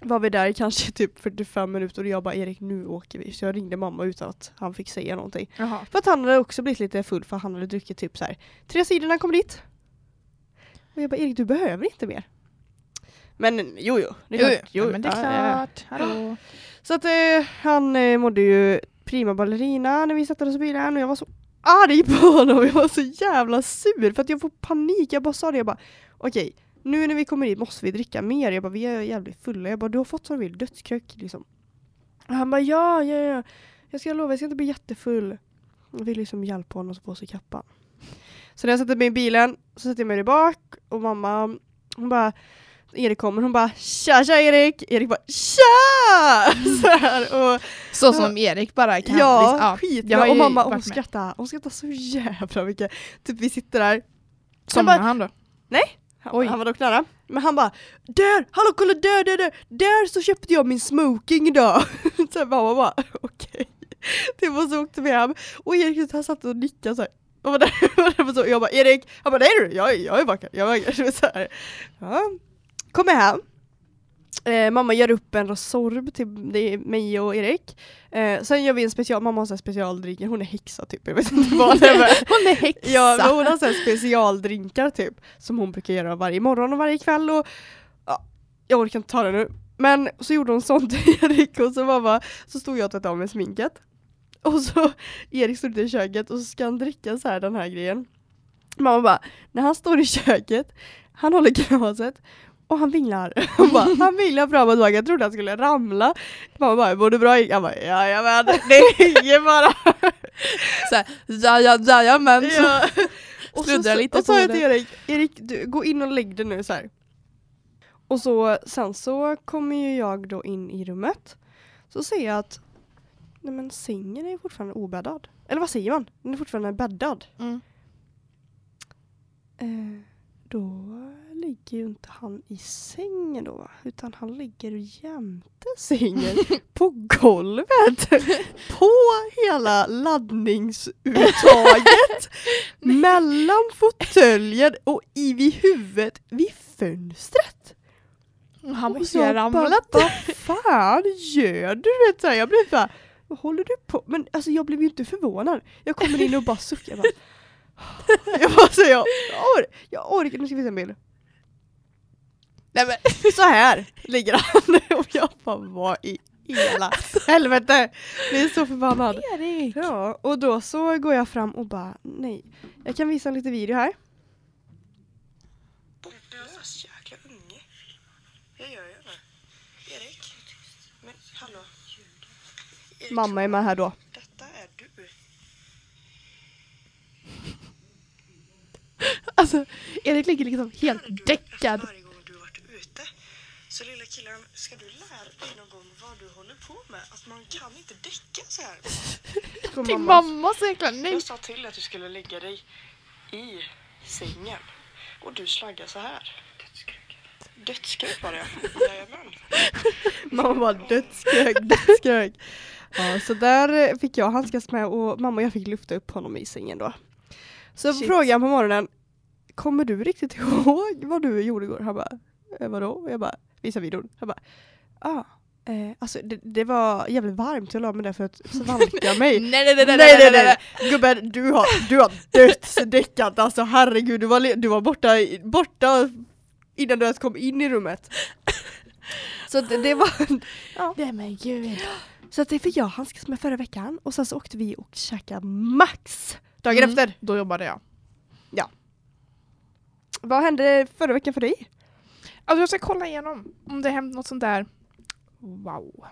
Speaker 1: var vi där i kanske typ 45 minuter och jag bara Erik nu åker vi. Så jag ringde mamma utan att han fick säga någonting.
Speaker 2: Jaha.
Speaker 1: För att han hade också blivit lite full för han hade druckit typ så här. tre sidor när han kom dit. Och jag bara Erik du behöver inte mer. Men jo jo. det är
Speaker 2: Jo,
Speaker 1: klart.
Speaker 2: jo. Ja, men det är
Speaker 1: Ja, ja, ja.
Speaker 2: klart. Hallå.
Speaker 1: Så att eh, han eh, mådde ju prima ballerina när vi satte oss i bilen och jag var så arg på honom. Jag var så jävla sur för att jag får panik. Jag bara sa det, jag bara okej, nu när vi kommer hit måste vi dricka mer. Jag bara vi är jävligt fulla. Jag bara du har fått som du vill, dödskrök liksom. Och han bara ja, ja, ja. Jag ska lova, jag ska inte bli jättefull. Jag vill liksom hjälpa honom att få sig kappan. Så när jag sätter mig i bilen så sätter jag mig där bak och mamma hon bara Erik kommer hon bara tja tja Erik! Erik bara tja! Så här, och
Speaker 2: Så som Erik bara kan.
Speaker 1: Ja,
Speaker 2: liksom,
Speaker 1: skit.
Speaker 2: jag har
Speaker 1: och
Speaker 2: ju
Speaker 1: mamma hon
Speaker 2: varit med.
Speaker 1: skrattar, hon skrattar så jävla mycket. Typ vi sitter där,
Speaker 2: Somnar han då?
Speaker 1: han,
Speaker 2: Oj.
Speaker 1: han var dock nära. Men han bara där, hallå kolla där, där, där, där så köpte jag min smoking idag. så här, mamma bara okej. Typ och så åkte vi hem och Erik han satt och nickade så här Och var där, var där på så, jag bara Erik, han bara nej du, jag, är- jag är vacker, jag är vacker. Så det var så här. Ja. Kommer hem. Eh, mamma gör upp en Resorb till det är mig och Erik. Eh, sen gör vi en special, mamma har så här specialdrinkar, hon är häxa typ. Jag vet inte vad det är.
Speaker 2: Hon är häxa.
Speaker 1: Ja, men hon har så här specialdrinkar typ, som hon brukar göra varje morgon och varje kväll och ja, jag orkar inte ta det nu. Men så gjorde hon sånt till Erik och så mamma, så stod jag och tvättade av mig sminket. Och så Erik stod ute i köket och så ska han dricka så här den här grejen. Mamma bara, när han står i köket, han håller glaset och han vinglar. Hon bara, han vinglar fram och tillbaka, jag trodde han skulle ramla. Mamma bara, mår du bra Erik? Han bara, jajamän, det är ingen fara.
Speaker 2: så här, jaja, jajamän. Ja.
Speaker 1: Ja. Och så,
Speaker 2: Sluddrar lite
Speaker 1: och så
Speaker 2: på
Speaker 1: sa jag till
Speaker 2: det.
Speaker 1: Erik, Erik du, gå in och lägg dig nu så här. Och så, sen så kommer ju jag då in i rummet. Så ser jag att nej men sängen är fortfarande obäddad. Eller vad säger man? Den är fortfarande bäddad.
Speaker 2: Mm.
Speaker 1: Eh, då ligger ju inte han i sängen då va? Utan han ligger jämte sängen på golvet. På hela laddningsuttaget. mellan fåtöljen och i vid huvudet vid fönstret.
Speaker 2: Han
Speaker 1: Och
Speaker 2: måste
Speaker 1: så
Speaker 2: ju ha
Speaker 1: bara,
Speaker 2: ramlat.
Speaker 1: Vad fan gör du? Vet, så här, jag blev bara, vad håller du på Men alltså jag blev ju inte förvånad. Jag kommer in och bara suckar. Jag bara, "Ah." jag, bara så, jag, or, jag orkar, nu ska vi se en bild.
Speaker 2: Nej, men,
Speaker 1: Så här ligger han och jag bara vad i hela helvete. Jag är så förbannad.
Speaker 2: Erik.
Speaker 1: Ja, och då så går jag fram och bara nej. Jag kan visa en liten video här.
Speaker 3: Du är en så jäkla unge. Jag gör ju det. Erik. Men hallå. Erik,
Speaker 1: Mamma är med här då.
Speaker 3: Detta är du.
Speaker 2: Alltså, Erik ligger liksom
Speaker 3: Här är du
Speaker 2: helt
Speaker 3: efter
Speaker 2: däckad.
Speaker 3: Varje gång du har varit ute. Så lilla killen, ska du lära dig någon gång vad du håller på med? Att man kan inte däcka så här.
Speaker 2: Till mamma så jäkla nej.
Speaker 3: Jag sa till att du skulle lägga dig i sängen. Och du slaggar så här. Dödskrök. Dödskrök var det ja. Jajamän.
Speaker 1: Mamma bara dödskrök, dödskrök. Ja, så där fick jag handskas med och mamma och jag fick lufta upp honom i sängen då. Så
Speaker 2: Shit.
Speaker 1: frågade jag på morgonen, kommer du riktigt ihåg vad du gjorde igår? Han bara, "Eh, vadå? Och jag bara, visa videon. Han bara, ja. Eh, alltså det, det var jävligt varmt, jag la mig där för att svalka mig.
Speaker 2: nej, nej,
Speaker 1: Nej nej nej, nej. gubben du har, du har dödsdäckat alltså herregud du var, le- du var borta, i- borta innan du ens kom in i rummet. Så att det, det var,
Speaker 2: Nej men gud.
Speaker 1: så att det fick jag handskas med förra veckan och sen så åkte vi och käkade Max dagen
Speaker 2: Mm.
Speaker 1: efter.
Speaker 2: Då jobbade jag.
Speaker 1: Vad hände förra veckan för dig?
Speaker 2: Alltså jag ska kolla igenom om det har hänt något sånt där. Wow.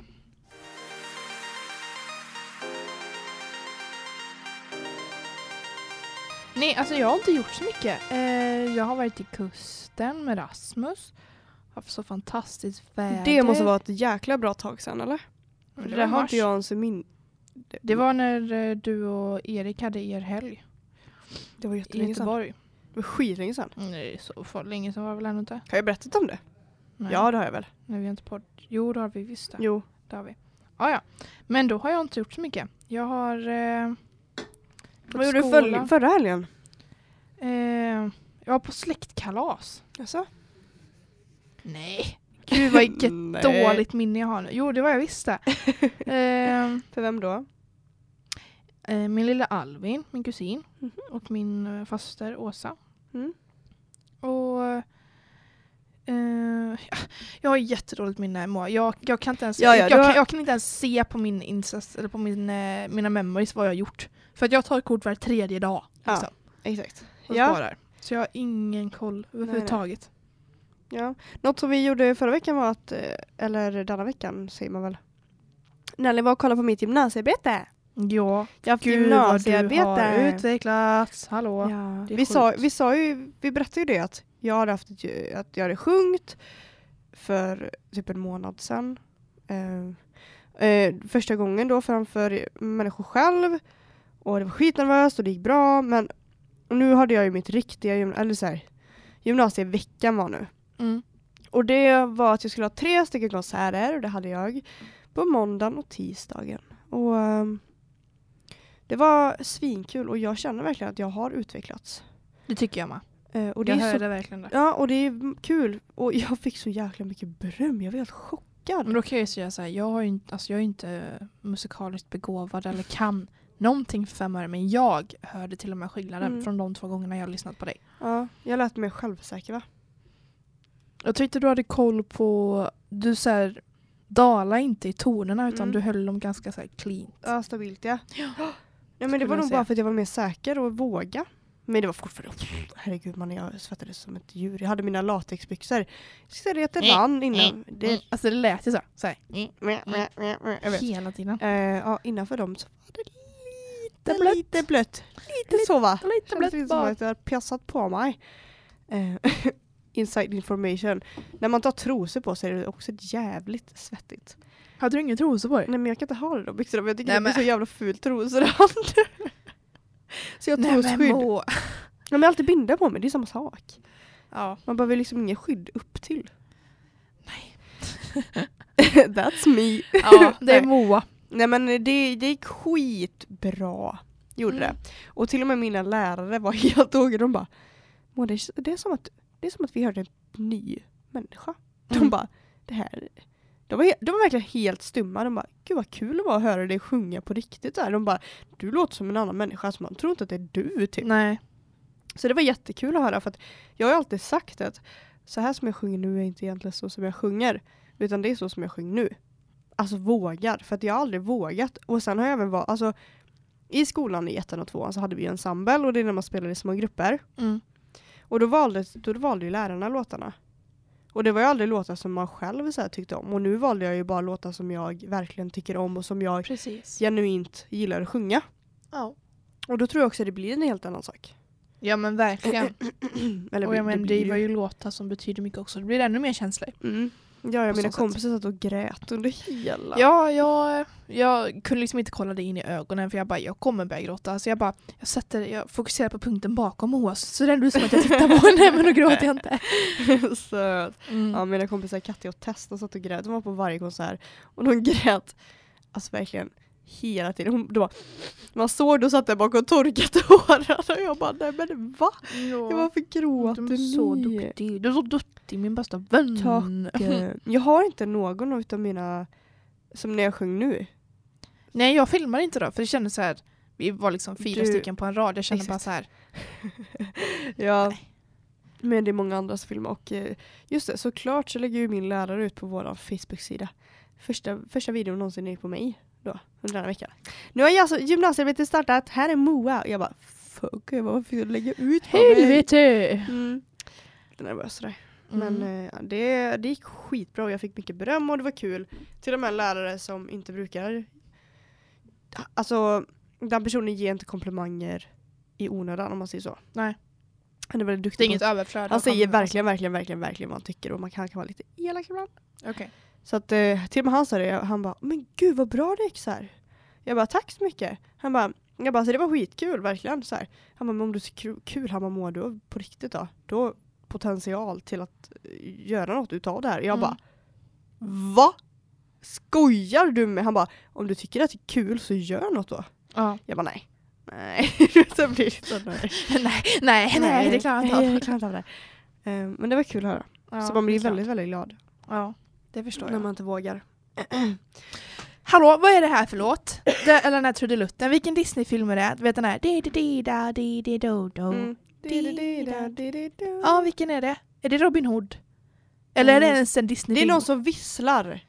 Speaker 2: Nej, alltså jag har inte gjort så mycket. Eh, jag har varit i kusten med Rasmus. Haft så fantastiskt väder.
Speaker 1: Eh, Det måste vara ett jäkla bra tag sedan eller?
Speaker 2: Men
Speaker 1: Det,
Speaker 2: Det
Speaker 1: där
Speaker 2: var,
Speaker 1: har
Speaker 2: mars.
Speaker 1: inte jag ens i min...
Speaker 2: det var när eh, du och Erik hade er helg
Speaker 1: det var
Speaker 2: i
Speaker 1: jättelänge sedan.
Speaker 2: Göteborg.
Speaker 1: Det var skitlänge sedan.
Speaker 2: Nej, så för länge sedan var det väl ännu inte?
Speaker 1: Har jag berättat om det?
Speaker 2: Nej.
Speaker 1: Ja det har jag väl.
Speaker 2: Nej, vi har inte podd. Jo, det har vi visst. det.
Speaker 1: Jo.
Speaker 2: Det har vi. Ah, ja. Men då har jag inte gjort så mycket. Jag har... Eh,
Speaker 1: Vad gjorde du
Speaker 2: skola.
Speaker 1: för, förra helgen?
Speaker 2: eh, jag var på släktkalas.
Speaker 1: Alltså?
Speaker 2: Nej. Gud vad vilket
Speaker 1: Nej.
Speaker 2: dåligt minne jag har nu. Jo, det var jag visst det. eh,
Speaker 1: För vem då?
Speaker 2: eh, min lilla Alvin, min kusin.
Speaker 1: Mhm.
Speaker 2: Och min eh, faster Åsa.
Speaker 1: Mm.
Speaker 2: Och... Eh, jag har jättedåligt minne. Moa. Jag, jag, kan inte ens,
Speaker 1: Ja, ja,
Speaker 2: jag,
Speaker 1: du
Speaker 2: jag,
Speaker 1: har-
Speaker 2: kan, jag kan inte ens se på min incest, eller på min, eh, mina memories vad jag har gjort. För att jag tar kort var tredje dag.
Speaker 1: Ja.
Speaker 2: Liksom.
Speaker 1: Exakt.
Speaker 2: och
Speaker 1: Ja.
Speaker 2: sparar. Så jag har ingen koll överhuvudtaget.
Speaker 1: Ja. Något som vi gjorde förra veckan var att, eh, eller denna veckan säger man väl, Nelly var och kollade på mitt gymnasiearbete.
Speaker 2: Ja,
Speaker 1: Jag har haft
Speaker 2: gud vad du har
Speaker 1: gymnasiearbete.
Speaker 2: utvecklats. Hallå.
Speaker 1: Ja.
Speaker 2: det är
Speaker 1: Vi, sa,
Speaker 2: sjukt.
Speaker 1: vi, sa ju, vi berättade ju det att jag hade, haft ett, ju- att jag hade sjungit för typ en månad sedan. Eh, eh, första gången då framför människor själv. Och det var skitnervöst och det gick bra. Men nu hade jag ju mitt riktiga gymna- eller så här, gymnasieveckan var nu.
Speaker 2: Mm.
Speaker 1: Och det var att jag skulle ha tre stycken konserter och det hade jag på måndagen och tisdagen. Och ehm, Det var svinkul och jag känner verkligen att jag har utvecklats.
Speaker 2: Det tycker jag med.
Speaker 1: Eh, och det
Speaker 2: Jag
Speaker 1: är så,
Speaker 2: hörde verkligen det.
Speaker 1: ja, och det är kul. Och jag fick så jäkla mycket beröm. Jag var helt chockad.
Speaker 2: Men då kan jag ju säga så här, jag, har ju inte, alltså jag är ju inte musikaliskt begåvad eller kan någonting för fem öre men jag hörde till och med skillnaden
Speaker 1: Mm.
Speaker 2: från de två gångerna jag har lyssnat på dig.
Speaker 1: Ja, jag lät mig självsäker va?
Speaker 2: Jag tyckte du hade koll på, du så här, dala inte i tonerna utan
Speaker 1: Mm.
Speaker 2: du höll dem ganska så här clean.
Speaker 1: Ja, stabilt ja. Ja, men det
Speaker 2: Skulle
Speaker 1: var
Speaker 2: jag
Speaker 1: nog
Speaker 2: säga.
Speaker 1: bara för att jag var mer säker och våga. Men det var fortfarande, herregud man jag svettades som ett djur. Jag hade mina latexbyxor. Så det
Speaker 2: Mm, Mm.
Speaker 1: rann innan. Det,
Speaker 2: Alltså det lät ju så här, så här
Speaker 1: meh, meh, meh, meh. jag vet.
Speaker 2: hela tiden.
Speaker 1: Eh, ja, innanför dem så var det lite
Speaker 2: Lite blött.
Speaker 1: Lite blött. Lite så va?
Speaker 2: Lite
Speaker 1: Kändes
Speaker 2: blött
Speaker 1: lite som
Speaker 2: bak.
Speaker 1: att jag hade pjassat på mig. Eh, inside information. När man tar trosor på sig är det också jävligt svettigt.
Speaker 2: Hade du ingen trosor på dig?
Speaker 1: Nej men jag kan inte ha det då byxorna för jag tycker
Speaker 2: Nej,
Speaker 1: det blir
Speaker 2: men-
Speaker 1: så jävla fult trosor alltid. Så jag har trosskydd. Nej
Speaker 2: må.
Speaker 1: men alltid binda på mig, det är samma sak.
Speaker 2: Ja.
Speaker 1: Man behöver liksom ingen skydd upp till.
Speaker 2: Nej.
Speaker 1: That's me.
Speaker 2: ja, det är
Speaker 1: Nej.
Speaker 2: Moa.
Speaker 1: Nej men det, det gick skitbra. Gjorde
Speaker 2: Mm.
Speaker 1: det. Och till och med mina lärare var helt tågiga. De bara "Moa, det, är- det, är som att, det är som att vi hörde en ny människa. De
Speaker 2: Mm.
Speaker 1: bara det här. De var, he- de var verkligen helt stumma. De bara gud vad kul det var att höra dig sjunga på riktigt. Där. De bara du låter som en annan människa. Alltså, man tror inte att det är du typ.
Speaker 2: Nej.
Speaker 1: Så det var jättekul att höra för att jag har ju alltid sagt att så här som jag sjunger nu är inte egentligen så som jag sjunger utan det är så som jag sjunger nu. Alltså vågar, för att jag har aldrig vågat. Och sen har jag även varit, alltså i skolan i ettan och tvåan så hade vi ju ensemble och det är när man spelar i små grupper.
Speaker 2: Mm.
Speaker 1: Och då valde, då valde ju lärarna låtarna. Och det var ju aldrig låtar som man själv så här tyckte om. Och nu valde jag ju bara låtar som jag verkligen tycker om och som jag
Speaker 2: Precis.
Speaker 1: genuint gillar att sjunga.
Speaker 2: Ja.
Speaker 1: Och då tror jag också att det blir en helt annan sak.
Speaker 2: Ja men verkligen.
Speaker 1: Eller
Speaker 2: Och jag
Speaker 1: blir-
Speaker 2: menar,
Speaker 1: blir
Speaker 2: det var ju låtar som betyder mycket också. Det blir ännu mer känslor.
Speaker 1: Mm. Ja,
Speaker 2: På
Speaker 1: jag mina
Speaker 2: så sätt.
Speaker 1: kompisar satt och grät under hela.
Speaker 2: Ja, jag, jag kunde liksom inte kolla det in i ögonen för jag bara, jag kommer börja gråta. Så jag bara, jag sätter, jag fokuserar på punkten bakom Moa. Så det är ändå som att jag tittar på henne men då gråter jag inte.
Speaker 1: så,
Speaker 2: Mm.
Speaker 1: ja, mina kompisar Katja och Tess de satt och grät. De var på varje konsert och de grät alltså verkligen hela tiden. Hon, de bara, man såg då satt där bakom och torkade tårar och jag bara nej men va? Jag bara, varför gråter
Speaker 2: Du är så
Speaker 1: ni?"
Speaker 2: duktig. Du är så duktig min bästa vän.
Speaker 1: Tack. Eh, Jag har inte någon utav mina som när jag sjöng nu.
Speaker 2: Nej jag filmar inte då för det kändes så här. Vi var liksom fyra
Speaker 1: Du-
Speaker 2: stycken på en rad. Jag kände
Speaker 1: Exakt.
Speaker 2: bara så här.
Speaker 1: Ja.
Speaker 2: Nej.
Speaker 1: Men det är många andras filmer och eh, just det, såklart så lägger ju min lärare ut på vår Facebook-sida. Första, första videon någonsin är på mig då, under den här veckan. Nu har jag alltså gymnasiearbetet startat, här är Moa. Och jag bara, fuck, jag bara, varför fick du lägga ut på mig? Mm. Lite nervös sådär. Men
Speaker 2: Mm.
Speaker 1: eh, ja, det, det gick skitbra och jag fick mycket beröm och det var kul. Till och med en lärare som inte brukar... Alltså, den personen ger inte komplimanger i onödan om man säger så.
Speaker 2: Nej.
Speaker 1: Han är väldigt
Speaker 2: det är
Speaker 1: duktig på
Speaker 2: inget överflöd. av
Speaker 1: han säger
Speaker 2: kommentar.
Speaker 1: verkligen, verkligen, verkligen, verkligen vad han tycker och man kan, kan vara lite elak ibland.
Speaker 2: Okej.
Speaker 1: Så att eh, till och med han sa det, han bara men gud vad bra det gick så här. Jag bara tack så mycket. Han bara, jag bara så det var skitkul verkligen så här. Han bara men om du tycker det är kul, han bara mår du på riktigt då? Då potential till att eh, göra något utav det här. Jag
Speaker 2: Mm.
Speaker 1: bara va? Skojar du med? Han bara om du tycker att det är kul så gör något då.
Speaker 2: Ja.
Speaker 1: Jag bara nej. Nej, det blir så nej.
Speaker 2: nej, nej, nej, det klarar jag inte av.
Speaker 1: Nej, jag klarar inte av det. Eh, Men det var kul att höra.
Speaker 2: Ja,
Speaker 1: så man blir
Speaker 2: det är klart.
Speaker 1: väldigt, väldigt glad
Speaker 2: Ja, det förstår
Speaker 1: när
Speaker 2: jag.
Speaker 1: man inte vågar.
Speaker 2: Hallå, vad är det här för låt? Det, eller den här trudelutten, vilken Disney-film är det? Du vet den här? di di di da di di do do
Speaker 1: Mm.
Speaker 2: Di-di-di-da,
Speaker 1: Ja.
Speaker 2: Ja, vilken är det? Är det Robin Hood? Eller är
Speaker 1: Mm.
Speaker 2: det ens en Disney-film?
Speaker 1: Det är någon som visslar.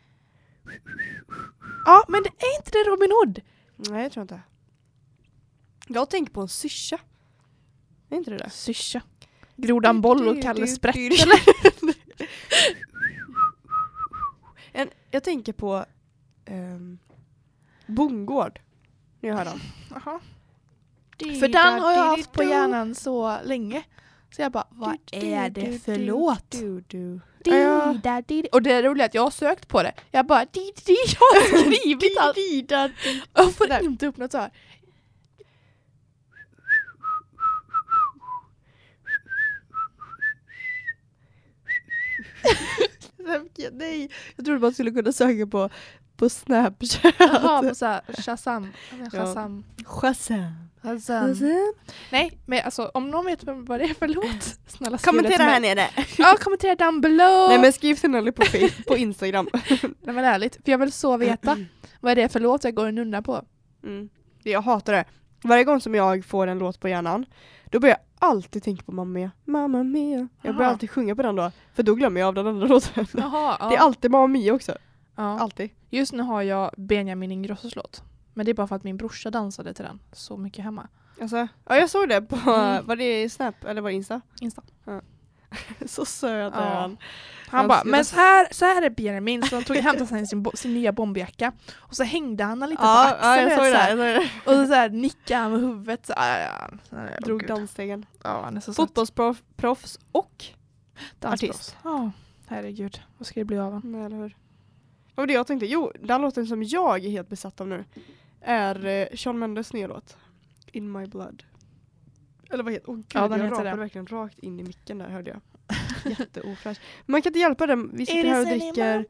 Speaker 2: Ja, men det är inte det Robin Hood?
Speaker 1: Nej, jag tror inte. Jag tänker på en syrsa. Är inte det det?
Speaker 2: Syrsa. Grodan Boll och Kalle Sprätt.
Speaker 1: en, jag tänker på um, Bongård. När jag hör den.
Speaker 2: För den har jag haft på hjärnan så länge. Så jag bara, vad är det för låt?
Speaker 1: Du, du. Ja.
Speaker 2: Di-da-di-di. Och det roliga är att jag har sökt på det. Jag bara, di-di-di, jag har skrivit allt. Och Jag får
Speaker 1: Där.
Speaker 2: inte upp något så här.
Speaker 1: Nej, jag trodde man skulle kunna söka på, på Snapchat.
Speaker 2: Jaha, på såhär Shazam. Shazam.
Speaker 1: Shazam.
Speaker 2: Shazam. Nej, men alltså om någon vet vem- vad det är för låt, snälla skriv det
Speaker 1: Kommentera
Speaker 2: till
Speaker 1: här
Speaker 2: mig.
Speaker 1: nere.
Speaker 2: Ja, kommentera down below.
Speaker 1: Nej men skriv till Nelly på, Face- på Instagram.
Speaker 2: Nej men ärligt, för jag vill så veta vad är det för låt jag går och nunnar på.
Speaker 1: Mm. Det- Jag hatar det. Varje gång som jag får en låt på hjärnan, då börjar jag alltid tänka på Mamma Mia. Mamma Mia. Jag börjar
Speaker 2: Aha.
Speaker 1: alltid sjunga på den då, för då glömmer jag av den andra låten.
Speaker 2: Jaha, Ah. ja.
Speaker 1: Det är alltid Mamma Mia också.
Speaker 2: ja.
Speaker 1: Alltid.
Speaker 2: Just nu har jag Benjamin Ingrossos låt. Men det är bara för att min brorsa dansade till den så mycket hemma.
Speaker 1: Alltså, ja jag såg det på,
Speaker 2: Mm.
Speaker 1: var det Snap eller var det Insta?
Speaker 2: Insta.
Speaker 1: Så söt är
Speaker 2: Ja.
Speaker 1: han.
Speaker 2: Han
Speaker 1: Han
Speaker 2: bara,
Speaker 1: skulle-
Speaker 2: men så här, så här är Benjamin. Så han tog, hämtade sig sin, bo- sin nya bomberjacka och så hängde han lite
Speaker 1: Ja,
Speaker 2: på
Speaker 1: ja
Speaker 2: axeln.
Speaker 1: jag
Speaker 2: vet,
Speaker 1: såg
Speaker 2: så
Speaker 1: det.
Speaker 2: här.
Speaker 1: Jag såg det.
Speaker 2: Och så, så här nickade han med huvudet. Så, här, ja, ja. Så här, åh,
Speaker 1: Drog
Speaker 2: gud.
Speaker 1: dansstegen.
Speaker 2: Ja, han är så söt.
Speaker 1: Fotbollsproffs och...
Speaker 2: Dansproffs.
Speaker 1: artist.
Speaker 2: Ja, herregud. Vad ska det bli av honom?
Speaker 1: Nej, eller hur? Vad var det jag tänkte? Jo, den låten som jag är helt besatt av nu är eh, Shawn Mendes nya låt. In My Blood. Eller vad heter oh, gud,
Speaker 2: Ja, den
Speaker 1: Jag
Speaker 2: heter det.
Speaker 1: rapade verkligen rakt in i micken där hörde jag. Jätteofräsch. Man kan inte hjälpa den. Vi sitter här och dricker.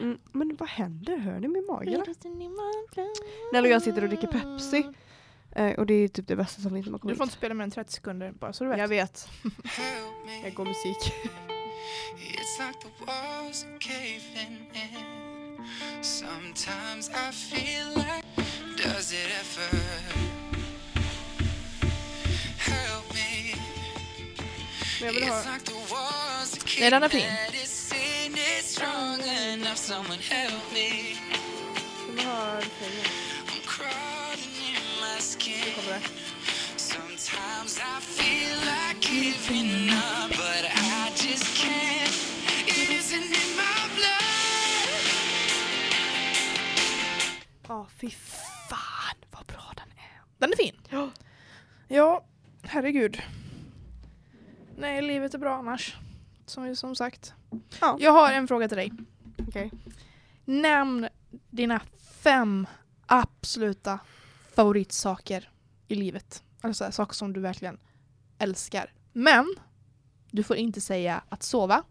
Speaker 1: Mm, men vad händer? Hör ni min mage?
Speaker 2: Mm.
Speaker 1: eller? Nelly och jag sitter och dricker Pepsi. Eh, och det är typ det bästa som finns när man kommer
Speaker 2: Du får
Speaker 1: hit.
Speaker 2: inte spela mer än 30 sekunder bara så du vet.
Speaker 1: Jag vet.
Speaker 4: Help me.
Speaker 1: Jag går musik.
Speaker 4: It's like the walls are caving in. Sometimes I feel like, does it ever help me?
Speaker 1: Men jag vill ha...
Speaker 4: It's like the walls are
Speaker 2: Nej, den är
Speaker 4: caving
Speaker 2: fin.
Speaker 4: in. It's strong enough. Someone help me.
Speaker 1: Jag vill ha refrängen.
Speaker 4: I'm crawling in my
Speaker 1: Nu
Speaker 4: skin.
Speaker 1: kommer det.
Speaker 4: Sometimes I feel like giving up, but I just can't. It isn't in my blood.
Speaker 1: Ja, fy fan vad bra den är.
Speaker 2: Den är fin.
Speaker 1: Ja.
Speaker 2: Ja, herregud. Nej, livet är bra annars. Som, som sagt.
Speaker 1: Ja.
Speaker 2: Jag har en fråga till dig.
Speaker 1: Okej.
Speaker 2: Nämn dina fem absoluta favoritsaker i livet. Alltså saker som du verkligen älskar. Men du får inte säga att sova.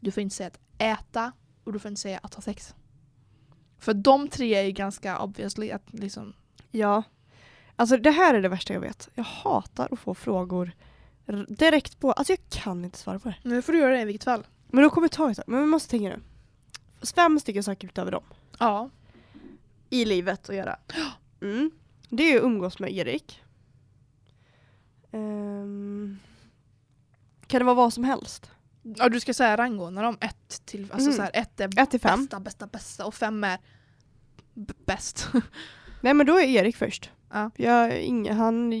Speaker 2: Du får inte säga att äta. Och du får inte säga att ha sex. För de tre är ju ganska obviously att liksom...
Speaker 1: Ja. Alltså det här är det värsta jag vet. Jag hatar att få frågor r- direkt på. Alltså jag kan inte svara på det.
Speaker 2: Nu får du göra det i vilket fall.
Speaker 1: Men då kommer jag ta ett Men vi måste tänka nu. Fem stycken saker utöver dem.
Speaker 2: Ja.
Speaker 1: I livet att göra. Mm. Det är ju att umgås med Erik. Ehm. Kan det vara vad som helst?
Speaker 2: Ja, du ska säga rangordna dem. Ett till, alltså
Speaker 1: Mm.
Speaker 2: så här, ett är
Speaker 1: Ett till fem.
Speaker 2: bästa, bästa, bästa och fem är b- bäst.
Speaker 1: Nej men då är Erik först.
Speaker 2: Ja.
Speaker 1: Jag, ing, han,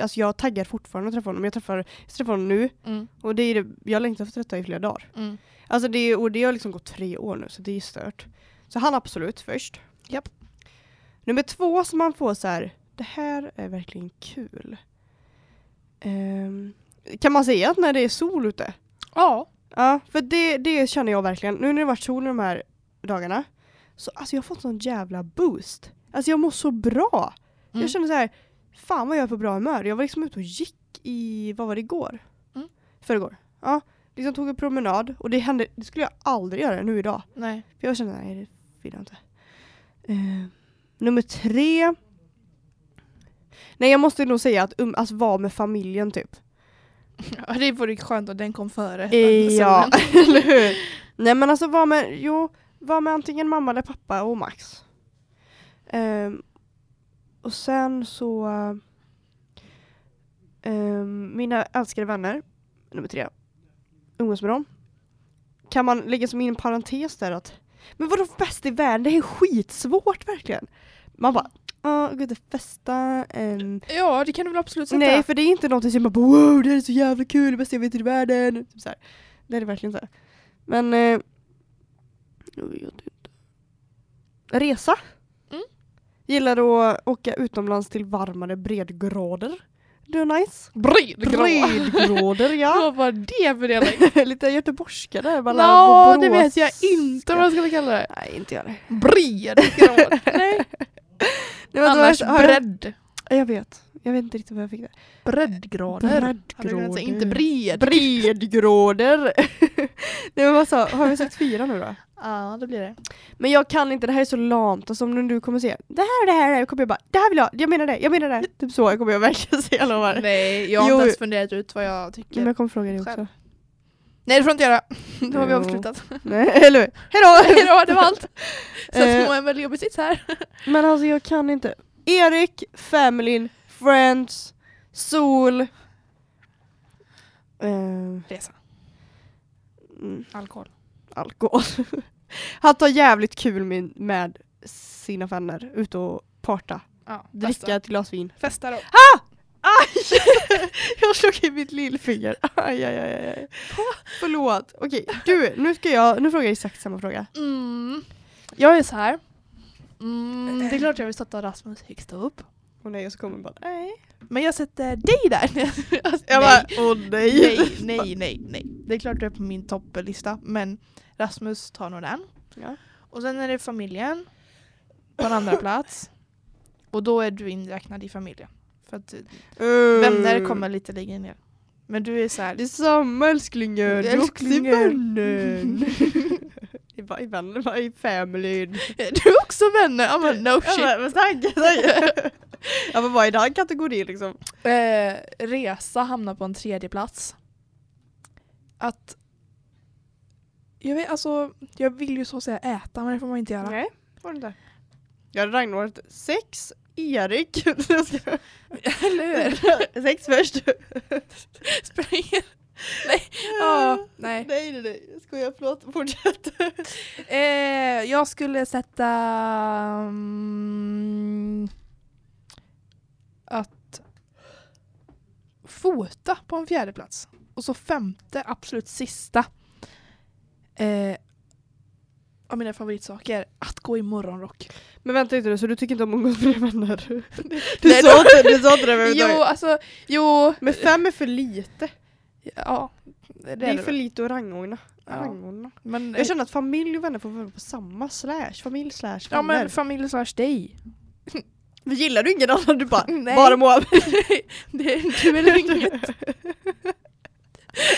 Speaker 1: alltså jag taggar fortfarande att träffa honom. Jag träffar, jag träffar honom nu
Speaker 2: Mm,
Speaker 1: och det är det, jag längtar efter detta i flera dagar.
Speaker 2: mm.
Speaker 1: Alltså det, är- och det har liksom gått tre år nu så det är ju stört. Så han absolut först.
Speaker 2: Japp.
Speaker 1: Nummer två som man får så här, det här är verkligen kul. Ehm, kan man säga att när det är sol ute?
Speaker 2: Ja.
Speaker 1: Ja, för det, det känner jag verkligen. Nu när det har varit sol de här dagarna så alltså jag har fått sån jävla boost. Alltså jag mår så bra.
Speaker 2: Mm.
Speaker 1: Jag känner så här, fan vad jag är på bra humör. Jag var liksom ute och gick i, vad var det igår?
Speaker 2: Mm.
Speaker 1: Förrgår. Ja, liksom tog en promenad och det hände, det skulle jag aldrig göra nu idag.
Speaker 2: Nej.
Speaker 1: För jag kände, nej det vill jag inte. Eh, nummer tre. Nej jag måste nog säga att um, alltså, vara med familjen typ.
Speaker 2: Ja, det vore skönt att den kom före. den
Speaker 1: Ja,
Speaker 2: solen.
Speaker 1: eller hur? Nej men alltså var med, jo, var med antingen mamma eller pappa och Max. Ehm, och sen så ehm, mina älskade vänner, nummer tre, umgås med dem. Kan man lägga som in en parentes där att men vadå bäst i världen? Det är skitsvårt verkligen. Man bara, ja, gå ut och festa. ehm,
Speaker 2: Ja, det kan du väl absolut sätta.
Speaker 1: Nej, för det är inte någonting som man bara wow, det här är så jävla kul, det bästa jag vet i världen. Typ så här. Det är det verkligen inte. Men... Eh, jag vet inte. Resa.
Speaker 2: Mm.
Speaker 1: Gillar att åka utomlands till varmare bredgrader. Det är nice.
Speaker 2: Brydgrå.
Speaker 1: Bredgrader, ja.
Speaker 2: Vad var det för dialekt?
Speaker 1: Lite göteborgska där. bara
Speaker 2: Ja,
Speaker 1: borås-
Speaker 2: det vet jag inte vad jag skulle kalla det.
Speaker 1: Nej, inte jag det.
Speaker 2: Brydgrå. Nej.
Speaker 1: Nej, men det
Speaker 2: Annars
Speaker 1: var- har jag-
Speaker 2: bredd.
Speaker 1: Jag vet. Jag vet inte riktigt vad jag fick där.
Speaker 2: Breddgrader. Hade du kunnat säga inte bred?
Speaker 1: Bredgråder. Nej men vad sa, har vi sagt fyra nu då?
Speaker 2: Ja, det blir det.
Speaker 1: Men jag kan inte, det här är så lamt. Alltså om nu du kommer se, det här och det här, och det här kommer jag bara, det här vill jag, ha, jag menar det, jag menar det. Typ så kommer jag verkligen se, jag lovar. Nej,
Speaker 2: Nej, jag har inte
Speaker 1: Jo.
Speaker 2: ens funderat ut vad jag tycker.
Speaker 1: men jag kommer fråga dig också.
Speaker 2: Själv. Nej, det får du inte göra. Då har vi
Speaker 1: Jo.
Speaker 2: avslutat.
Speaker 1: Nej, eller hur? Hejdå!
Speaker 2: Hejdå, det var allt. Så
Speaker 1: Eh.
Speaker 2: att må en väldigt jobbig sits här.
Speaker 1: Men alltså jag kan inte. Erik, Familyn, Friends, Sol. Eh,
Speaker 2: Resa.
Speaker 1: mm,
Speaker 2: Alkohol.
Speaker 1: alkohol. Han tar jävligt kul med, med sina vänner. Ute och parta.
Speaker 2: Ja,
Speaker 1: Dricka ett glas vin.
Speaker 2: Festa då.
Speaker 1: Alltså. Aj! Jag slog i mitt lillfinger. Aj, aj, aj, aj. Förlåt. Okej, du, nu ska jag, nu frågar jag exakt samma fråga.
Speaker 2: Mm. Jag är så här. Mm, det är klart jag vill sätta Rasmus högst upp.
Speaker 1: Och nej, och så kommer bara nej.
Speaker 2: Men jag sätter dig där. Alltså,
Speaker 1: Jag
Speaker 2: nej,
Speaker 1: bara, åh nej.
Speaker 2: nej, nej, nej, nej. Det är klart du är på min topplista. Men Rasmus tar nog den.
Speaker 1: Ja.
Speaker 2: Och sen är det familjen. På en andra plats. Och då är du inräknad i familjen. För att vänner kommer lite längre ner. Men du är så här.
Speaker 1: Uh. Det är samma älsklingen, du är också i
Speaker 2: Älsklingar.
Speaker 1: vännen. I bara i vännen, bara i familyn.
Speaker 2: Du är också vänner! Ja men no
Speaker 1: Jag
Speaker 2: Oh, shit.
Speaker 1: bara, men tack, tack. Jag bara, vad är den kategorin liksom?
Speaker 2: Eh, resa hamnar på en tredje plats. Att... Jag, vet, alltså, jag vill ju så säga äta men det får man inte göra.
Speaker 1: Nej, var det inte. Jag hade Ragnvart sex, Erik. Jag ska-
Speaker 2: Eller hur?
Speaker 1: sex först.
Speaker 2: Spring. nej. Ja, nej.
Speaker 1: Nej, nej, nej. Jag skojar, förlåt. Fortsätt.
Speaker 2: Eh, jag skulle sätta... mm, att fota på en fjärde plats. Och så femte, absolut sista. Eh, av mina favoritsaker, att gå i morgonrock.
Speaker 1: Men vänta inte nu, så du tycker inte om att umgås med dina vänner? Du
Speaker 2: Nej,
Speaker 1: sa inte du sa inte det
Speaker 2: Jo,
Speaker 1: överhuvudtaget.
Speaker 2: alltså, jo,
Speaker 1: Men fem är för lite.
Speaker 2: ja. Det är
Speaker 1: Det är
Speaker 2: det
Speaker 1: för
Speaker 2: väl.
Speaker 1: lite att rangordna.
Speaker 2: ja.
Speaker 1: rangordna.
Speaker 2: Men,
Speaker 1: Jag känner att familj och vänner får vara på samma slash, familj slash vänner.
Speaker 2: ja, men familj slash dig.
Speaker 1: men gillar du ingen annan? Du bara,
Speaker 2: Nej.
Speaker 1: bara Moab.
Speaker 2: Det är du eller inget.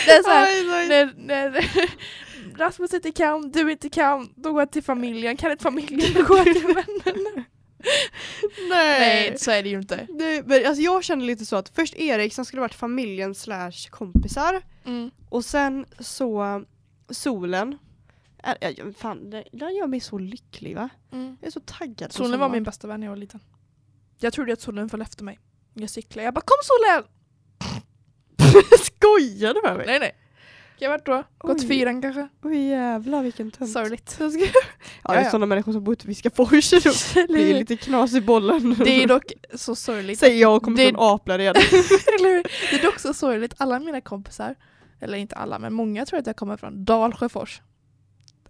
Speaker 2: Det är så här,
Speaker 1: Oj, oj.
Speaker 2: när, när Rasmus inte kan, du inte kan, då går jag till familjen. Kan inte familjen, då går jag till vännen.
Speaker 1: Nej.
Speaker 2: så är det ju inte.
Speaker 1: Nej, men alltså jag känner lite så att först Erik, sen skulle det varit familjen slash kompisar.
Speaker 2: Mm.
Speaker 1: Och sen så solen. Är- är- Fan, det- den gör mig så lycklig va?
Speaker 2: Mm.
Speaker 1: Jag är så taggad på
Speaker 2: Solen var min bästa vän när jag var liten. Jag trodde att solen följde efter mig. Jag cyklade, jag bara kom solen!
Speaker 1: Skojar du med mig?
Speaker 2: Nej nej. Jag varit då, gått
Speaker 1: Oj.
Speaker 2: fyran kanske.
Speaker 1: Oj jävlar vilken tönt.
Speaker 2: Sorgligt.
Speaker 1: Jag ska- Ja, det är
Speaker 2: ja.
Speaker 1: sådana människor som bor ute vid Viskafors. Det blir lite knas i bollen.
Speaker 2: Det är dock så sorgligt.
Speaker 1: Säger jag och kommer
Speaker 2: Det-
Speaker 1: från Aplared.
Speaker 2: Eller hur? Det är dock så sorgligt, alla mina kompisar, eller inte alla men många tror att jag kommer från Dalsjöfors.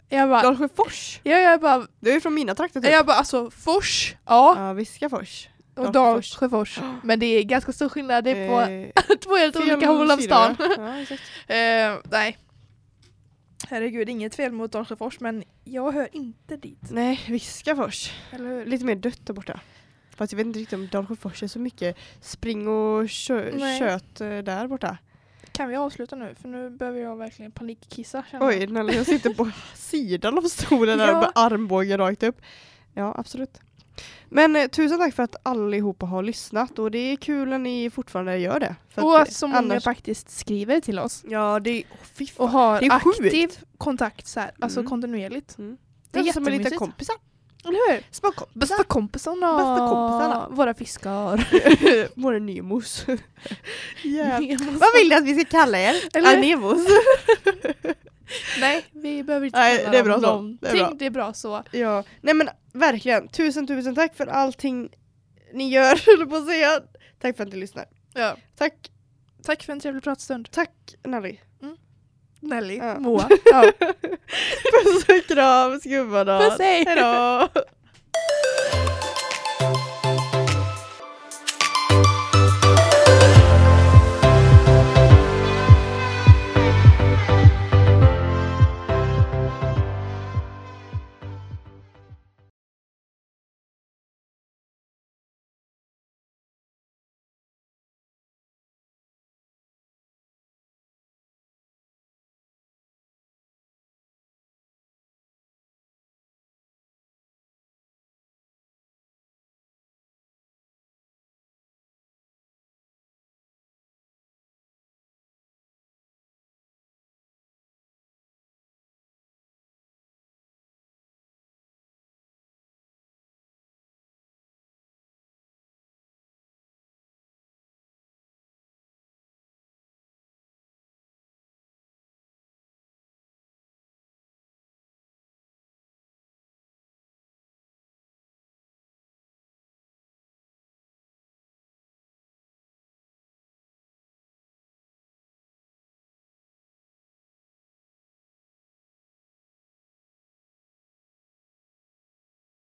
Speaker 2: Jag bara,
Speaker 1: Dalsjöfors?
Speaker 2: ja, jag bara,
Speaker 1: Du är ju från mina trakter typ.
Speaker 2: jag bara alltså Fors, ja.
Speaker 1: Ja, Viskafors.
Speaker 2: Och
Speaker 1: Dalsjöfors.
Speaker 2: Dalsjöfors. Men det är ganska stor skillnad, det är på
Speaker 1: Eh,
Speaker 2: två helt
Speaker 1: fel
Speaker 2: olika håll av
Speaker 1: sidor, va?
Speaker 2: stan.
Speaker 1: Ja, exakt.
Speaker 2: Eh, nej. Herregud, inget fel mot Dalsjöfors men jag hör inte dit.
Speaker 1: Nej, Viskafors.
Speaker 2: Eller hur?
Speaker 1: Lite mer dött där borta. Fast jag vet inte riktigt om Dalsjöfors är så mycket spring och kö
Speaker 2: Nej.
Speaker 1: kött eh, där borta.
Speaker 2: Kan vi avsluta nu? För nu behöver jag verkligen panikkissa. känner jag.
Speaker 1: Oj, Nelly jag sitter på sidan av stolen där
Speaker 2: Ja.
Speaker 1: med armbågen rakt upp. Ja, absolut. Men eh, tusen tack för att allihopa har lyssnat och det är kul när ni fortfarande gör det. För
Speaker 2: Och
Speaker 1: att,
Speaker 2: att så många
Speaker 1: annars-
Speaker 2: faktiskt skriver till oss.
Speaker 1: Ja, det är... Oh, fy fan.
Speaker 2: Och har
Speaker 1: det är sjukt.
Speaker 2: aktiv kontakt så här, alltså
Speaker 1: Mm.
Speaker 2: kontinuerligt.
Speaker 1: Mm.
Speaker 2: Det är
Speaker 1: Det är som en liten
Speaker 2: jättemysigt.
Speaker 1: kompisar.
Speaker 2: Eller hur?
Speaker 1: Små kompisar.
Speaker 2: Bästa kompisarna.
Speaker 1: Bästa kompisarna.
Speaker 2: Våra fiskar.
Speaker 1: Våra Nemos.
Speaker 2: Nemos.
Speaker 1: Vad vill du att vi ska kalla er?
Speaker 2: Eller-
Speaker 1: Ah, Nemos.
Speaker 2: Nej, vi behöver inte
Speaker 1: Nej,
Speaker 2: kalla
Speaker 1: det är bra
Speaker 2: dem
Speaker 1: så.
Speaker 2: någonting.
Speaker 1: Det är bra.
Speaker 2: Det är bra så.
Speaker 1: Ja, nej men verkligen. Tusen tusen tack för allting ni gör, höll jag på att säga. Tack för att ni lyssnar.
Speaker 2: Ja.
Speaker 1: Tack,
Speaker 2: Tack för en trevlig pratstund.
Speaker 1: tack Nelly.
Speaker 2: Nelly.
Speaker 1: Ja.
Speaker 2: Moa. Ja.
Speaker 1: Puss och kram, skummadag.
Speaker 2: Puss, hej.
Speaker 1: Hejdå.